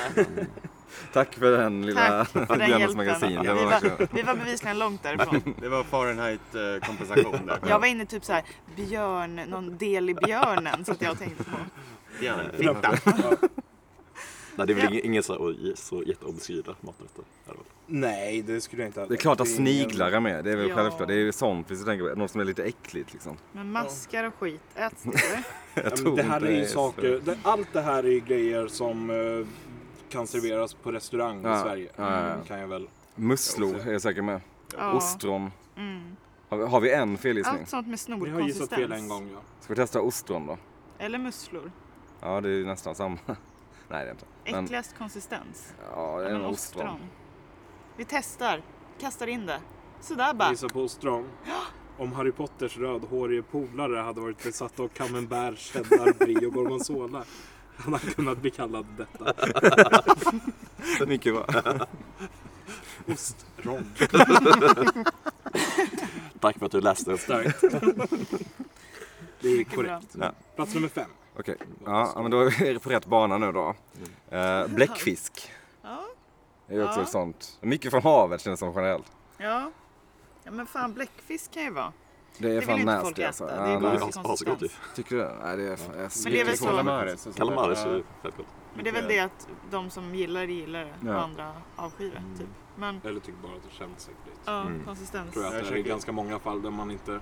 Tack för den lilla
Tack för den
Björnens
hjälpen.
magasin.
Vi
Det var verkligen...
var, vi var bevisligen långt därifrån.
Det var Fahrenheit-kompensation där.
Jag var inne typ så här, björn, någon del i björnen så att jag tänkte på.
Björn.
Nej, det är väl
Ja.
inget, inget så, här, oj, så jätteobskyra maträtter. är det väl?
Nej, det skulle jag inte ha.
Det är klart att
ingen-
sniglar är med, det är väl
Ja.
självklart. Det är ju sånt vi tänker på, något som är lite äckligt liksom.
Men maskar och skit äts det eller?
Ja, men
tror
det här
inte
är ju
det är
saker, det, allt det här är ju grejer som eh, kan serveras på restaurang i
Ja,
Sverige.
ja, ja.
Kan jag väl.
Musslor är jag säker med.
Ja.
Ostron.
Mm.
Har vi, har vi en felgissning?
Allt sånt med
Vi har gissat
snorkonsistens.
fel en gång ja.
Ska vi testa ostron då?
Eller musslor.
Ja, det är ju nästan samma. Nej, det är inte. Men-
Äckligast konsistens.
Ja, det är
Men
en
ostron.
ostron.
Vi testar. Kastar in det. Sådär bara.
Gissa på ostron. Om Harry Potters rödhårige polare hade varit besatt av camembert, cheddar, brie och gorgonzola hade han kunnat bli kallad detta.
Mycket bra.
Ostron.
Tack för att du läste upp.
Starkt. Det är
Mycket bra.
korrekt. Plats nummer fem.
Okej, ja, ja, men då är det på rätt bana nu då. Eh, bläckfisk.
Ja.
Det är ju också
Ja.
ett sånt. Mycket från havet känns det som generellt.
Ja. ja men fan bläckfisk kan ju vara.
Det är
Det
fan
vill ju inte folk
nasty
äta.
alltså.
Det
Ja,
är ju
nej.
konstigt.
Asgott ju.
Tycker du? Nej, det är fan... jag ser
Men det är väl
inte
så-
sådana-
Calamaris. och sånt där.
Calamaris är
Ja.
ju fett gott.
Men det är väl det att de som gillar det gillar det
Ja.
och andra avskyr det. Typ. Men
Eller tycker bara att det känns äckligt.
ja, konsistens.
tror jag
Jag
att det är
försöker-
ganska många fall där man inte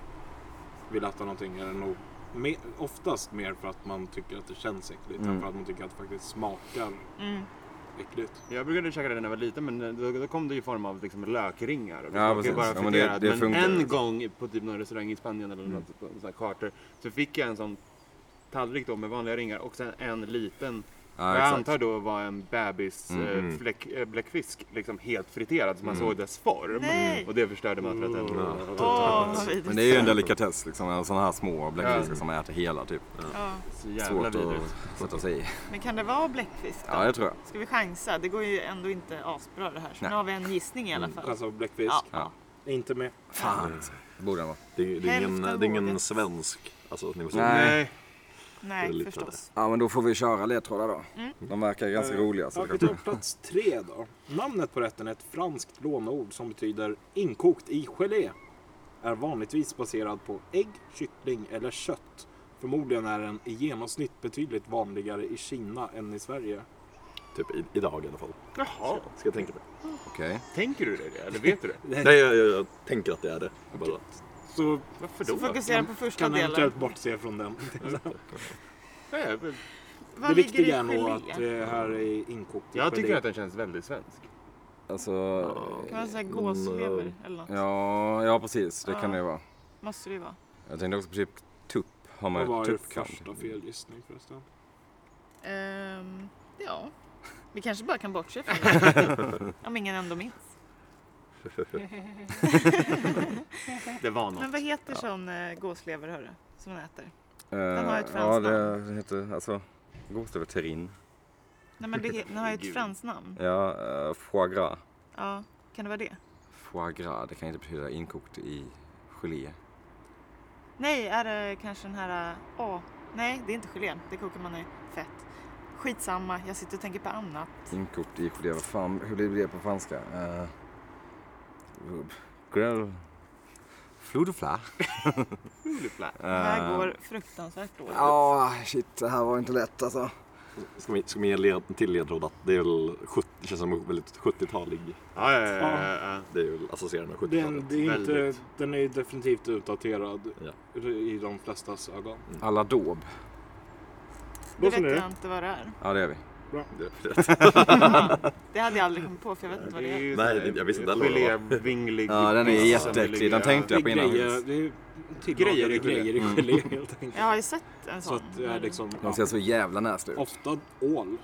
vill äta någonting är det nog me- oftast mer för att man tycker att det känns äckligt än för att man tycker att det faktiskt smakar
Mm.
äckligt.
Jag brukade käka det när jag var liten men eh, då, då kom det i form av liksom lökringar. Och det
Ja,
smakade
precis.
Bara
Ja, men det-
friterat.
det
men
funkar Mm. ju.
en gång på typ någon restaurang i Spanien eller något på sådana charter så fick jag en sån tallrik då med vanliga ringar och sen en liten
Ja,
jag
exakt.
antar då var en bebis eh, fläck, eh, bläckfisk liksom helt friterad så man
Mm.
såg dess form.
Nej.
Och det förstörde maträtten.
Åh, vad
Men
vidrigt.
det är ju en delikatess liksom. Sådana här små bläckfiskar som äter hela typ.
Ja.
Så jävla
Svårt
vidrigt.
att sätta sig i.
Men kan det vara bläckfisk då?
Ja, det tror jag.
Ska vi chansa? Det går ju ändå inte asbra det här. Så
Nej.
nu har vi en gissning i alla fall.
Alltså bläckfisk,
Ja.
Ja.
inte med.
Fan. Det borde den vara.
Det är, det är ingen,
Hälften
det är ingen
vågat.
svensk. Alltså, ni måste
Nej.
Nej.
Det är
Nej,
lite
förstås.
Ja, men då får vi köra ledtrådar då.
Mm.
De verkar ganska roliga. Så
Ja,
det
vi
kanske-
tar plats tre då. Namnet på rätten är ett franskt låneord som betyder inkokt i gelé. Är vanligtvis baserad på ägg, kyckling eller kött. Förmodligen är den i genomsnitt betydligt vanligare i Kina än i Sverige.
Typ i, idag i alla fall.
Jaha,
Ska jag tänka på.
Okej.
tänker du det? Eller vet du det?
Nej, jag, jag, jag tänker att det är det. Jag Bara,
Så
Varför
Så
då?
fokusera på första
kan man
delen.
eventuellt bortse från den.
Nej, men
Vad
det
ligger i
viktiga är nog att
gelé?
det här är inkokt i
Jag
gelé.
tycker att den känns väldigt svensk.
Alltså...
Kan man säga gåslever eller något?
Ja, ja precis. Det kan
Ja.
det vara.
Måste det ju vara.
Jag tänkte också på typ tupp. Har
Vad var
man
er
tupp kanske?
första felgissning förresten?
Ehm, ja, vi kanske bara kan bortse från det. Om ingen ändå minns.
Det var något.
Men vad heter sån eh, gåslever hörru, som man äter?
Eh,
har ett
Ja,
franskt
det, det heter alltså... Gåslever terrin.
Nej men det he- den har ju ett franskt namn.
Ja, eh, foie gras.
Ja, kan det vara det?
Foie gras, det kan inte betyda inkokt i Gelé.
Nej, är det kanske den här... äh, Åh, nej det är inte gelén. Det kokar man i fett. Skitsamma, jag sitter och tänker på annat.
Inkokt i gelé. Vad fan, hur blir det på franska? Uh, grill. Flou de fla.
Det här går fruktansvärt dåligt.
Ah. Ja, shit, det här var inte lätt alltså.
Ska vi, ska vi ge led, en till ledtråd att det är väl 70, det känns som en väldigt 70-talig.
Ja, ja, ja, ja, ja.
Det är väl associerat med
Den,
70-talet.
det är inte,
Väldigt.
den är ju definitivt utdaterad
Ja.
i de flestas ögon.
Alla daub.
Det
Vad sa
vet
ni?
jag inte vad det är.
Ja, det är vi.
Det hade jag aldrig kommit på för jag vet inte vad det är.
ju
Nej,
sån här
jag visste inte heller vad det var.
Gelévinglig.
Ja, den är
pizza
jätteäcklig. Den
med
tänkte
Det är
jag på innan.
grejer, det är
Grejer
tillagade
i
grejer i gelé helt enkelt.
Jag har ju sett en
Så
sån.
att det är
men-
liksom,
De ser så jävla nasty ut.
ofta ål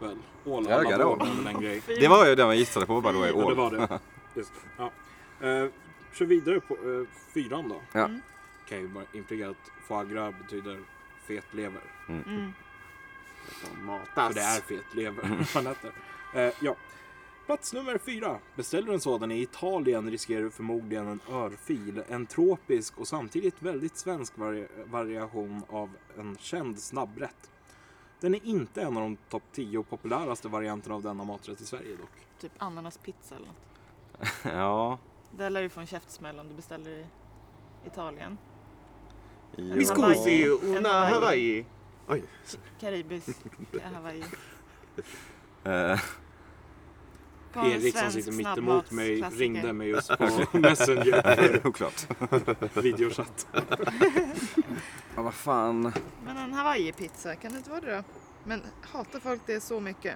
väl? Ål,
Ja,
alla
garå.
ål är väl en grej.
Fy.
Det var ju den man gissade på by the way.
Ja, det
Ål.
var det. Just det. Ja. Eh, kör vidare på eh, fyran då.
Ja.
Mm.
Kan ju bara inflika att foie gras betyder fet lever.
Mm.
som
För
Matas.
det är fet lever man äter. Eh, ja. Plats nummer fyra. Beställer du en sådan i Italien riskerar du förmodligen en örfil. En tropisk och samtidigt väldigt svensk vari- variation av en känd snabbrätt. Den är inte en av de topp 10 populäraste varianterna av denna maträtt i Sverige dock.
Typ ananaspizza eller något.
Ja.
Det lär ju få en käftsmäll om du beställer i Italien.
Vi skås i una Hawaii.
Karibis, Hawaii.
Eh,
På en
Erik som
svensk
sitter mitt emot mig
snabbmatsklassiker.
ringde mig just på Messenger för
Oklart.
videochatt.
Ja, vad fan.
Men en hawaii-pizza, kan det inte vara det då? Men hatar folk det så mycket?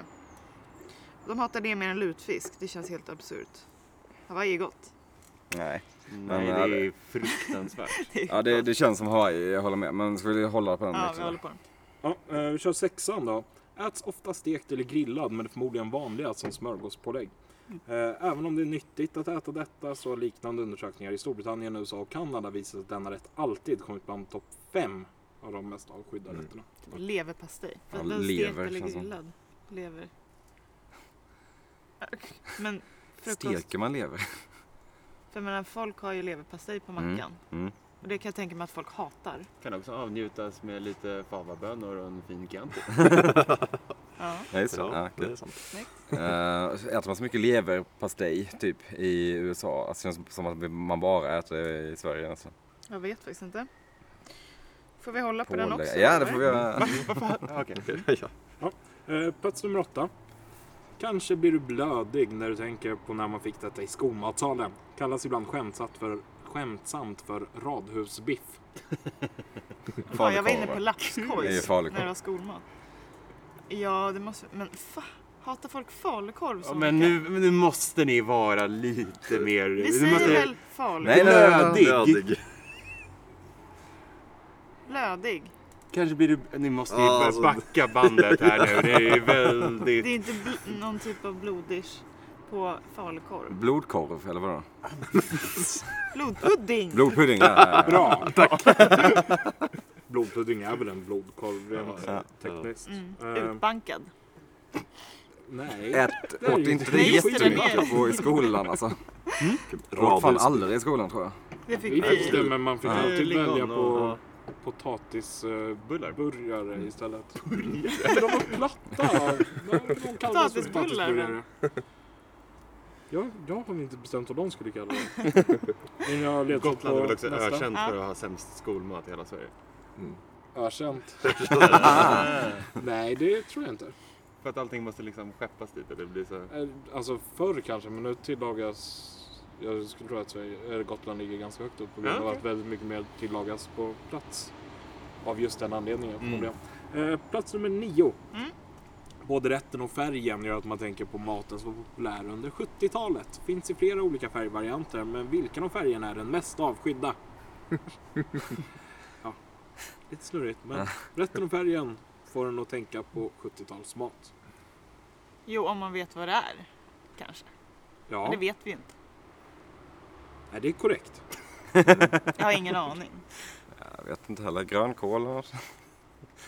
De hatar det mer än lutfisk, det känns helt absurt. Hawaii är gott.
Nej.
Nej,
Men,
det är fruktansvärt.
Ja, det, det känns som Hawaii, jag håller med. Men ska vi hålla på den
Ja,
lite
vi
då?
håller på den.
Ja, eh, vi kör sexan då. Äts ofta stekt eller grillad men är förmodligen vanligast som smörgåspålägg. Eh, Även om det är nyttigt att äta detta så har liknande undersökningar i Storbritannien, USA och Kanada visat att denna rätt alltid kommit bland topp fem av de mest avskydda rätterna.
Typ Leverpastej. För
Ja,
att den stekt
lever
eller
känns som.
grillad. Lever. Men frukost.
Steker man lever?
För jag menar, folk har ju leverpastej på mackan.
mm.
Och det kan jag tänka mig att folk hatar.
Kan också avnjutas med lite favabönor och en fin Chianti.
Ja,
Ja, just det.
Ja,
Ja,
det
kul.
är sant.
Eh, så äter man så mycket leverpastej typ i USA? Alltså, det känns som att man bara äter det i Sverige alltså. nästan.
jag vet faktiskt inte. Får vi hålla på,
På
den
le-
också?
Ja, det
eller?
får vi göra.
ja.
Eh, Plats nummer åtta. Kanske blir du blödig när du tänker på när man fick detta i skolmatsalen. Kallas ibland skämtsamt för, skämtsamt för radhusbiff.
Fan, jag var
Falukorv,
inne på
va?
lapskojs
Det är falukorv.
när det var skolmat. Ja, det måste... Men fa, hatar folk falukorv så
Ja, men
mycket?
nu, men nu måste ni vara lite mer...
Vi
nu
säger
måste-
väl falukorv?
Nej, nej, nej, nej.
Dig.
Nödig.
Lödig.
Kanske blir du... Ni måste ju
Ja,
börja
alltså-
backa bandet här nu. Det är ju
Det
väldigt...
är inte bl- någon typ av blodish på falukorv.
Blodkorv, eller vadå?
Blodpudding!
Blodpudding, ja, ja. ja.
Bra! Tack! Blodpudding är väl en blodkorv rent tekniskt.
Mm.
Eh,
Utbankad.
nej.
Ät,
är
åt
ju-
inte det
Nej, just det, den är-
jättemycket jag får i skolan alltså? Jag åt fan
Radhus.
aldrig i skolan tror jag.
Det fick
Vi fick det,
vi.
men man fick
Ja. Typ
alltid
Lingon
välja på
och-
potatisburgare eh,
Mm.
burgare istället. Men de var platta! De- De kallades för
Potatisbullar,
potatisburgare. Jag, jag har inte bestämt vad de skulle kalla det. Men jag har letat
Gotland är
på
väl också
nästa.
ökänt för att ha sämst skolmat i hela Sverige.
Mm.
Ökänt.
Ah.
Nej, det tror jag inte.
För att allting måste liksom skeppas dit. och Det blir så...
Eh, Alltså förr kanske, men nu tillagas... Jag skulle tro att Sverige, eh, Gotland ligger ganska högt upp på grund
Ja,
av
okej.
att väldigt mycket mer tillagas på plats. Av just den anledningen.
Mm.
förmodligen. Eh, plats nummer nio.
Mm.
Både rätten och färgen gör att man tänker på maten som var populär under 70-talet. Finns i flera olika färgvarianter, men vilken av färgerna är den mest avskydda? ja, lite snurrigt, men rätten och färgen får en att tänka på 70-talsmat.
Jo, om man vet vad det är. Kanske. Men
Ja,
det vet vi ju inte.
nej, det är korrekt.
Jag har ingen aning.
Jag vet inte heller. Grönkål eller något?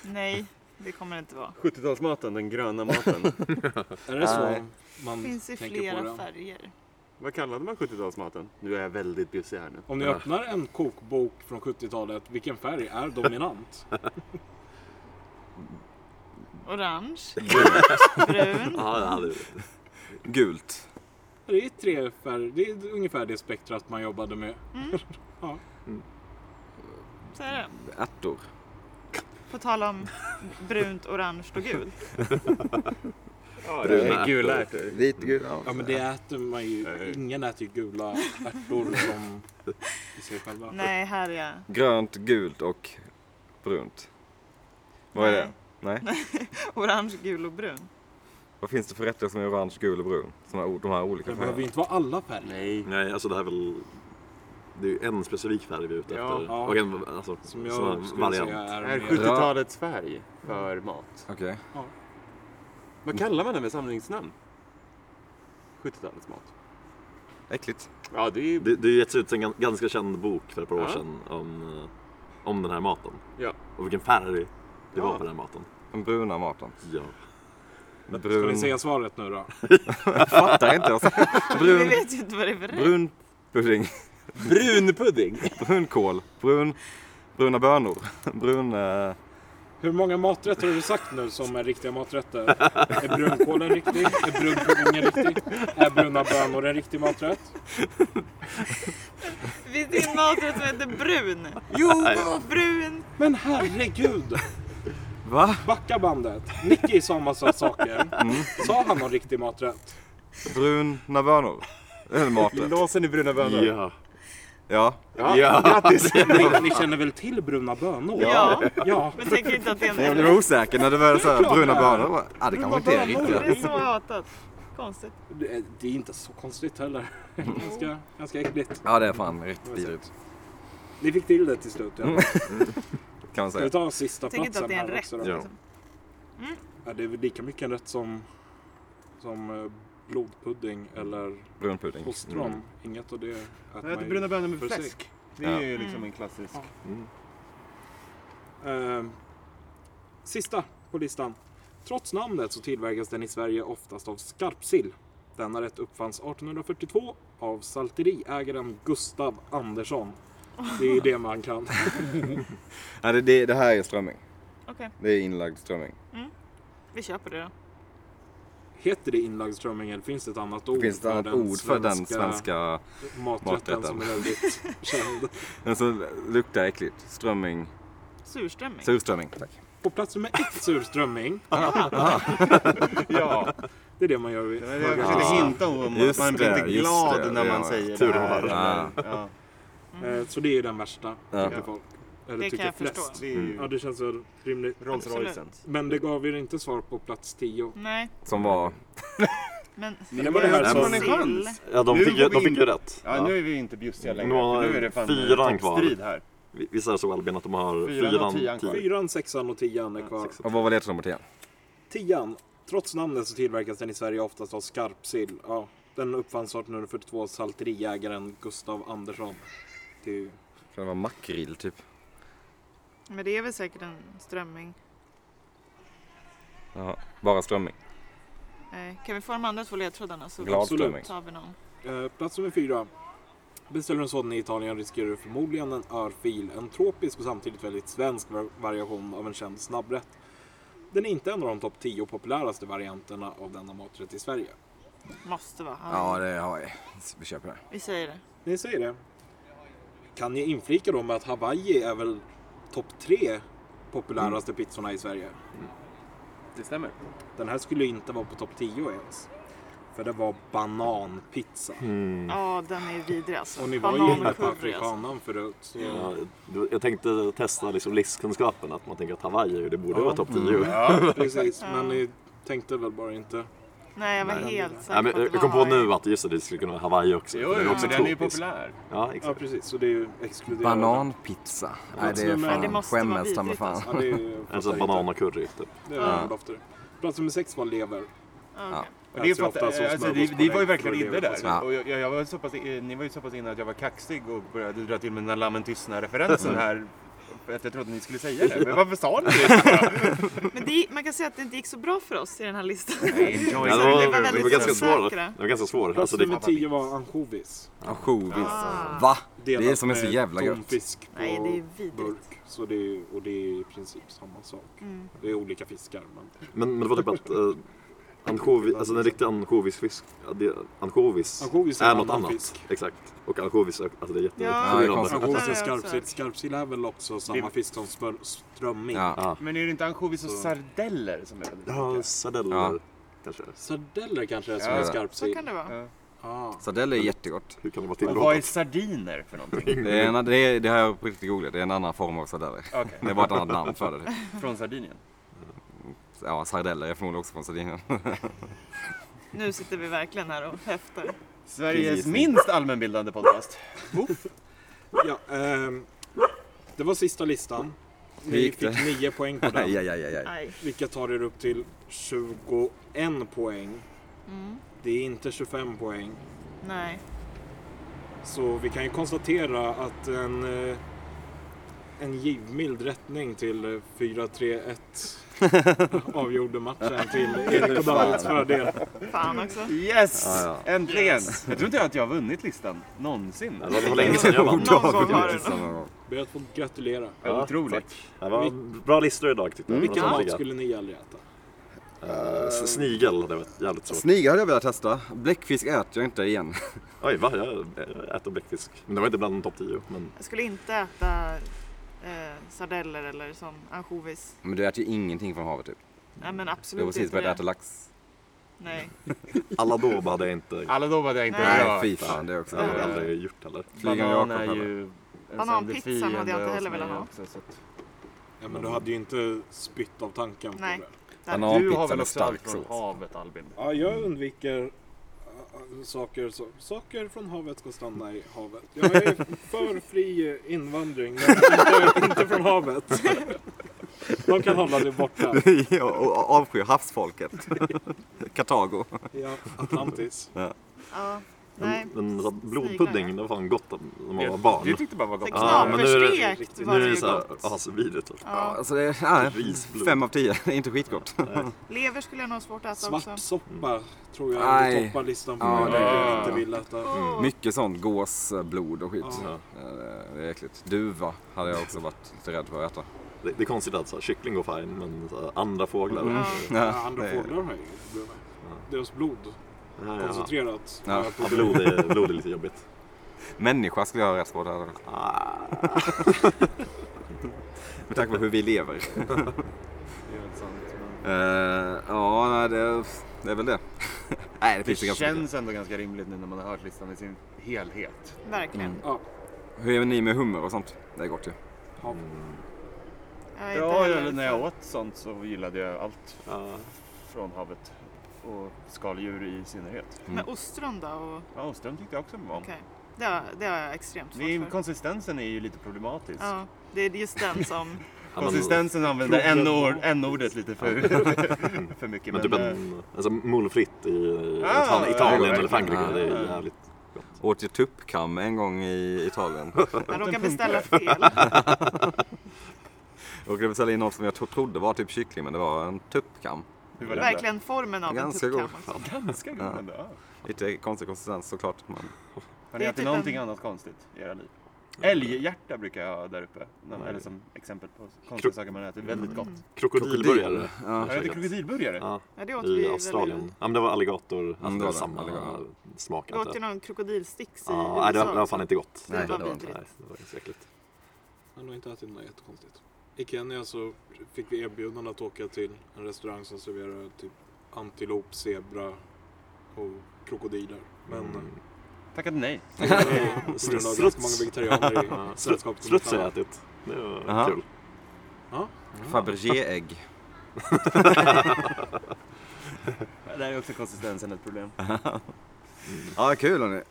Nej, det kommer det inte vara.
70-talsmaten, den gröna maten.
Är det
Nej.
så man
Finns i
Mm, tänker på
flera
det?
färger.
Vad kallade man 70-talsmaten? Nu är jag väldigt busy här nu.
Om ni öppnar en kokbok från 70-talet, vilken färg är dominant?
Orange. Brun.
Ja, det hade
Gult.
Det är tre färger, det är ungefär det spektrat man jobbade med.
Så är det.
Ärtor.
På tal om brunt, orange och gult.
Bruna gula ärtor.
Vitgul. Ja.
Ja men det äter man ju, ingen äter ju gula ärtor som i sig själva.
Nej, här är jag.
Grönt, gult och brunt. Vad är det? Nej.
Orange, gul och brun.
Vad finns det för rätter som är orange, gul och brun? Som har, de här
Det
olika
behöver ju
färgerna.
inte vara alla färger.
Nej.
Nej, alltså det här är väl... Det är ju en specifik färg vi är ute
Ja,
efter.
ja.
Och en alltså,
Som
som
jag
sån
skulle
variant.
säga är,
Är
mer-
70-talets färg för mat?
Okej.
Vad kallar man det med samlingsnamn? 70-talets mat.
Äckligt.
Ja, det är ju...
Det, det getts ut en gan- ganska känd bok för ett par år
Ja.
sedan om, eh, om den här maten.
Ja.
Och vilken färg det var
Ja.
på den här maten.
Den bruna maten.
Ja.
Ska
Brun...
ni säga svaret nu då?
Fattar inte alltså.
Vi
Brun,
vet ju inte vad det är för rätt.
brun pudding.
Brun pudding!
Brunkål. Brun... Bruna bönor. Brun... eh,
Hur många maträtter har du sagt nu som är riktiga maträtter? Är brunkålen riktig? Är brunpuddingen riktig? Är bruna bönor en riktig maträtt?
Finns det en maträtt som heter brun? Jo, brun!
Men herregud!
Va?
Backa bandet! Nicky sa en massa saker. Sa han någon riktig maträtt?
Bruna bönor. Det är en maträtt.
Låsen i bruna bönor.
Ja.
Ja.
Ja, grattis!
Ni, ni känner väl till bruna bönor?
Ja.
ja.
Men tänker inte att det är en
Jag blev osäker när det började
Det är
såhär
klart
bruna
det är.
bönor. bara, Ja, det
Bruna
kanske inte är
bönor.
riktigt.
Det är så hatat. Konstigt.
Det är- det är inte så konstigt heller. Ganska, ganska äckligt.
Ja, det är fan riktigt vidrigt.
Ni fick till det till slut. Ja.
Kan man
Ska vi
säga.
ta sista
Tänker inte att
platsen
det är en
här
rätt.
också då?
Ja.
Liksom.
Ja, det är väl lika mycket en rätt som, som eh, blodpudding eller
Brun pudding.
ostron. Inget av det äter
Jag äter
ju
bruna bönor med
för sig.
fläsk. Det är ju liksom en klassisk.
Ehm, sista på listan. Trots namnet så tillverkas den i Sverige oftast av skarpsill. Denna rätt uppfanns 1842 av salteriägaren Gustav Andersson. Det är det man kan.
Ja, det, det, det här är strömming.
Okej,
Det är inlagd strömming.
vi köper det då.
Heter det inlagd strömming eller finns det ett annat ord?
Det finns ett annat ord för den svenska...
maträtten,
maträtten.
som är väldigt känd?
Den som luktar äckligt. Strömming.
Surströmming.
Surströmming. Tack.
På plats nummer ett surströmming.
Ja,
Det är det man gör vid
jag försökte hinta om att
Just
man blir
det,
inte
just
glad
det,
när
det
man
var-
säger
Tur
det här.
var.
Ja.
Ja,
Eh, Så det är ju den värsta,
Ja.
tycker folk. Eller
Det kan
tycker
jag
flest.
förstå.
det är ju
Ja, det känns väl rimligt.
Rolls-Roycen.
Absolut.
Men det gav er inte svar på plats 10.
Nej,
Som var...
men...
Det var det här
som-
en chans.
ja, de
Nu
fick ju,
går
de
vi
fick
in-
ju rätt.
Ja, nu är vi inte bjussiga längre.
Nu har
för nu är det fan
fyran kvar.
strid här.
Vi- Visst är det så Albin att de har
Fyran och
fyran,
tian kvar.
tio?
Fyran, sexan och tian är kvar.
Och vad var ledtråden igen?
Tian. Trots namnet så tillverkas den i Sverige oftast av skarpsill. Ja, den uppfanns 1842 av salteriägaren Gustav Andersson. Det är ju-
Kan det vara makrill typ?
Men det är väl säkert en strömming.
Jaha. Bara strömming.
Eh, kan vi få de andra två ledtrådarna så
Glad
Absolut.
strömming.
tar vi någon.
Eh, plats nummer fyra. Beställer en sådan i Italien riskerar du förmodligen en örfil, en tropisk och samtidigt väldigt svensk var- variation av en känd snabbrätt. Den är inte en av de topp 10 populäraste varianterna av denna maträtt i Sverige.
Måste vara han.
Ja, det har jag. Vi köper det.
Vi säger det.
Ni säger det. Kan ni inflika då med att Hawaii är väl topp 3 populäraste pizzorna i Sverige?
Det stämmer.
Den här skulle inte vara på topp 10 ens. För det var bananpizza.
Mm.
Ja, den är vidrig alltså.
Och ni var ju inne på afrikanan förut. Så...
Ja, jag- jag tänkte testa liksom livskunskapen, att man tänker att Hawaii är ju- det borde vara topp 10.
Mm.
Precis, men ni tänkte väl bara inte.
Nej, jag var helt
Nej,
säker
men,
på att
jag
det
jag kom på
var
nu att just det, det skulle kunna vara Hawaii också.
Jo,
för
jo, men den är ju
tropisk.
populär.
Ja,
Ja
exakt.
precis, så det är ju exkluderat.
Bananpizza. Nej, det
Nej,
är
det
fan
måste vara
skämmes ta mig
vidrigt,
fan.
Ja, det är ju,
En sån Alltså, banan och curry typ.
Det är lofter. Plats nummer sex var lever.
Ja,
Och Det, är
Äts ju
för att,
ofta som
alltså, det,
smörgåspålägg
det var ju verkligen
för
inne
lever.
där.
Ja.
Och jag, jag var så pass, eh, ni var ju så pass inne att jag var kaxig och började dra till med den här lammen tystnar-referensen här för att jag trodde ni skulle säga det. Men varför sa ni det?
Men det, man kan säga att det inte gick så bra för oss i den här listan.
Enjoy
Ja, det,
var
var,
väldigt
det, var ganska svår,
osäkra.
det var ganska svår.
Plats
Alltså, det,
nummer 10 var ansjovis.
Ansjovis.
Ah.
Va?
Delat
Det är som är så
med
jävla
tom
gött.
fisk på
Nej, det är vidrigt.
burk. Så det är, och det är i princip samma sak.
Mm.
Det är olika fiskar. Men
men, men det var typ att eh, ansjovis, alltså en riktig ansjovisfisk, ja, det- ansjovis
ansjovis
är
en
något
annan
annat.
fisk.
Exakt. Och ansjovis, är- alltså det är
Ja.
Ja, det
jätteförvirrande.
Ansjovis
Där
är
är jag också.
skarpsill. Skarpsill är väl också samma fisk som spör, strömming.
Ja.
Ja,
Men är det inte ansjovis och sardeller som är väldigt
ja
olika?
sardeller
Ja.
kanske.
Sardeller kanske är som
Ja.
är
Så
skarpsill.
kan det vara.
Ah.
Sardell är jättegott.
Hur kan det vara
Och vad är
tillåtet?
sardiner för någonting?
Det, är en, det, är, det har jag på riktigt googlat. Det är en annan form av sardeller.
Okej,
Det är bara ett annat namn för det.
från Sardinien.
Ja, sardeller är förmodligen också från Sardinien.
Nu sitter vi verkligen här och häftar.
Sveriges
Precis.
minst allmänbildande podcast.
Ja, ehm, det var sista listan.
Hur
Ni
gick
fick 9 poäng på den.
Aj.
Vilket tar er upp till 21 poäng. Det är inte 25 poäng.
Mm. Nej.
Så vi kan ju konstatera att en, eh, en givmild rättning till eh, 4-3-1 avgjorde matchen till Erik och Davids fördel.
Fan också.
Yes!
Ja,
Äntligen! Jag tror inte att jag har vunnit listan. Någonsin.
Ja, Det var länge sedan jag vann.
Någon gång har
Typ.
det nog.
Ber att få gratulera.
Ja,
Ja,
Otroligt. Mm.
tack. Det var bra listor idag tyckte jag.
Vilken
Det var
mat
samtliga.
skulle ni aldrig äta?
Eh, s- Snigel hade varit jävligt svårt.
Snigel hade jag velat testa. Bläckfisk äter jag inte igen.
Oj, va? Jag äter bläckfisk. Men det var inte bland topp 10. Men
Jag skulle inte äta eh, sardeller eller som ansjovis.
Men du äter ju ingenting från havet typ.
Nej men
Du har
absolut
precis
inte
börjat
det.
äta lax.
Nej.
alla då hade jag inte...
Alla då var det inte
Nej,
bra.
Nej, fy fan. Det är också...
Jag hade aldrig gjort heller.
Flygande
Banan
Jakob
är
heller.
ju... en sån
Bananpizzan hade jag
defiende
inte heller
hos
velat
mig
ha.
också, så att-
Ja, men du hade ju inte spytt av tanken på
Nej.
det.
Du har
Bananpizza
väl också
med
allt
stark
från
sås.
havet Albin?
Ja, jag undviker äh, saker, som- saker från havet ska stanna i havet. Jag är för fri invandring, men inte, inte från havet. De kan hålla det borta.
ja, och avskyr havsfolket. Kartago.
Ja, Atlantis.
Ja. Nej.
Men, men så att
Sniglar,
blodpudding,
ja.
det var fan gott när man var barn.
Du tyckte bara var gott.
Så
Ja, men nu är det-
Knaperstekt
Nu
var
är
det
det
ju
så här
gott.
asvidrigt. alltså.
Ja.
Alltså det är, ja,
Risblod.
fem av tio. Det är inte skitgott.
Lever skulle jag nog ha svart att äta också.
Svartsoppa tror jag
Aj.
toppar listan på
Ja,
vad jag
det-
verkligen inte vill äta.
mm,
Mycket sånt. Gåsblod och skit.
Ja.
Eh, Det är äckligt. Duva hade jag också varit lite rädd för att äta.
Det, det är konstigt att så här, kyckling går fine, men så här, andra fåglar... Mm.
Ja,
Ja,
andra
det är-
fåglar har jag ju. Deras blod
Ja, ja.
koncentrerat.
Ja.
Ja.
Ja, blod, är, blod är lite jobbigt.
Människa skulle jag ha rätt på. Det hade varit-
Ah,
Med tanke på hur vi lever. Eh, ja, nej, det, det är väl det. nej, det
Det
finns ju ganska mycket.
känns ändå ganska rimligt nu när man har hört listan i sin helhet.
Mm.
Verkligen.
Hur är ni med hummer och sånt? Det är gott ju.
Jag är inte
Ja,
heller
jag, när
för-
jag åt sånt så gillade jag allt
ja.
från havet och skaldjur i synnerhet.
Men ostron då? Och,
Ja, ostron tyckte jag också var om.
okej. det, har, det har jag extremt svårt
Men
för.
Konsistensen är ju lite problematisk.
Ja, det är just den som...
Konsistensen använder n-ord- n-ordet lite för, för mycket. eh,
Men typ en alltså, molfritt i
Ah,
Ital- Italien
ja,
eller Frankrike,
verkligen.
det är jävligt...
Åt ju tuppkam en gång i Italien.
Jag råkar beställa fel.
Och jag beställde in något som jag tro- trodde var typ kyckling men det var en tuppkam.
Hur var den
Verkligen formen av en
Ganska
tuppkam.
god.
också.
då? Ganska god ändå. ja.
Lite konstig konsistens såklart. Men...
Har
Det
ni
är
ätit
typ
någonting
en-
annat konstigt i era liv? Älghjärta brukar jag ha där uppe. Nå- Eller som exempel på konstiga saker man äter. Väldigt gott.
Mm.
Krokodilburgare.
Ja.
Har du ätit krokodilburgare?
Ja,
Ja, det åt vi
i
väl
Australien. Ja, men det var alligator, alltså
Mm,
det var
det var det.
samma
Alligator.
smak.
Vi åt
antar
ju
jag.
någon krokodilsticks i
Ja, nej, det var, det var fan inte gott.
Nej, det var
inte.
vidrigt.
Nej, det var ganska äckligt.
Jag har nog inte ätit något jättekonstigt. I Kenya så fick vi erbjudande att åka till en restaurang som serverar typ antilop, zebra och krokodiler. Men mm.
Tackade nej.
på grund av ganska många vegetarianer i
Struts-
sällskapet.
Struts har jag ätit. Det var
Aha.
kul.
Fabergé-ägg.
Där är också konsistensen ett problem.
Ja, kul hörni.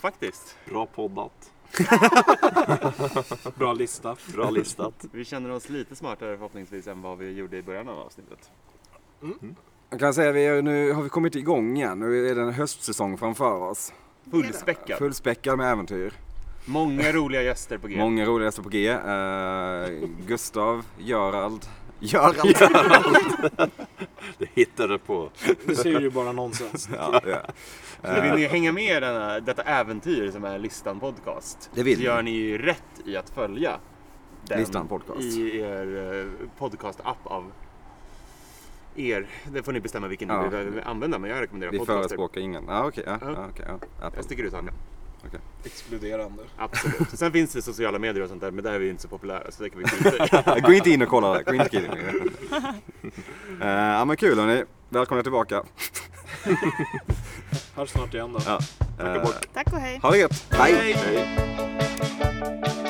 Faktiskt.
Bra poddat.
Bra lista.
Bra listat.
Vi känner oss lite smartare förhoppningsvis än vad vi gjorde i början av avsnittet.
Jag kan säga att vi är, nu har vi kommit igång igen. Nu är det en höstsäsong framför oss.
Fullspäckad.
Fullspäckad med äventyr.
Många roliga gäster på G.
Många roliga gäster på G. Eh, Gustav, Görald. Görald!
Det hittar du på.
Det säger ju bara nonsens.
Ja, ja.
Så
Eh.
vill ni hänga med i denna, detta äventyr som är Listan Podcast
Det vill
så
ni.
gör ni ju rätt i att följa den
Listan Podcast.
i er eh, podcast-app av er. Det får ni bestämma vilken
Ja.
ni vill använda, men jag rekommenderar
Vi
podcaster.
förespråkar ingen. Ah, okej, ja,
Ja.
ja, okej, ja. Apple.
Jag sticker ut hakan.
Exkluderande.
Absolut. Sen finns det sociala medier och sånt där, men där är vi inte så populära så det kan vi skita i.
Gå inte in och kolla det. Gå inte in. Eh, Ja men kul hörni. Välkomna tillbaka.
Hörs snart igen då.
Ja. Eh,
Tack och hej.
Ha det gött. Hej.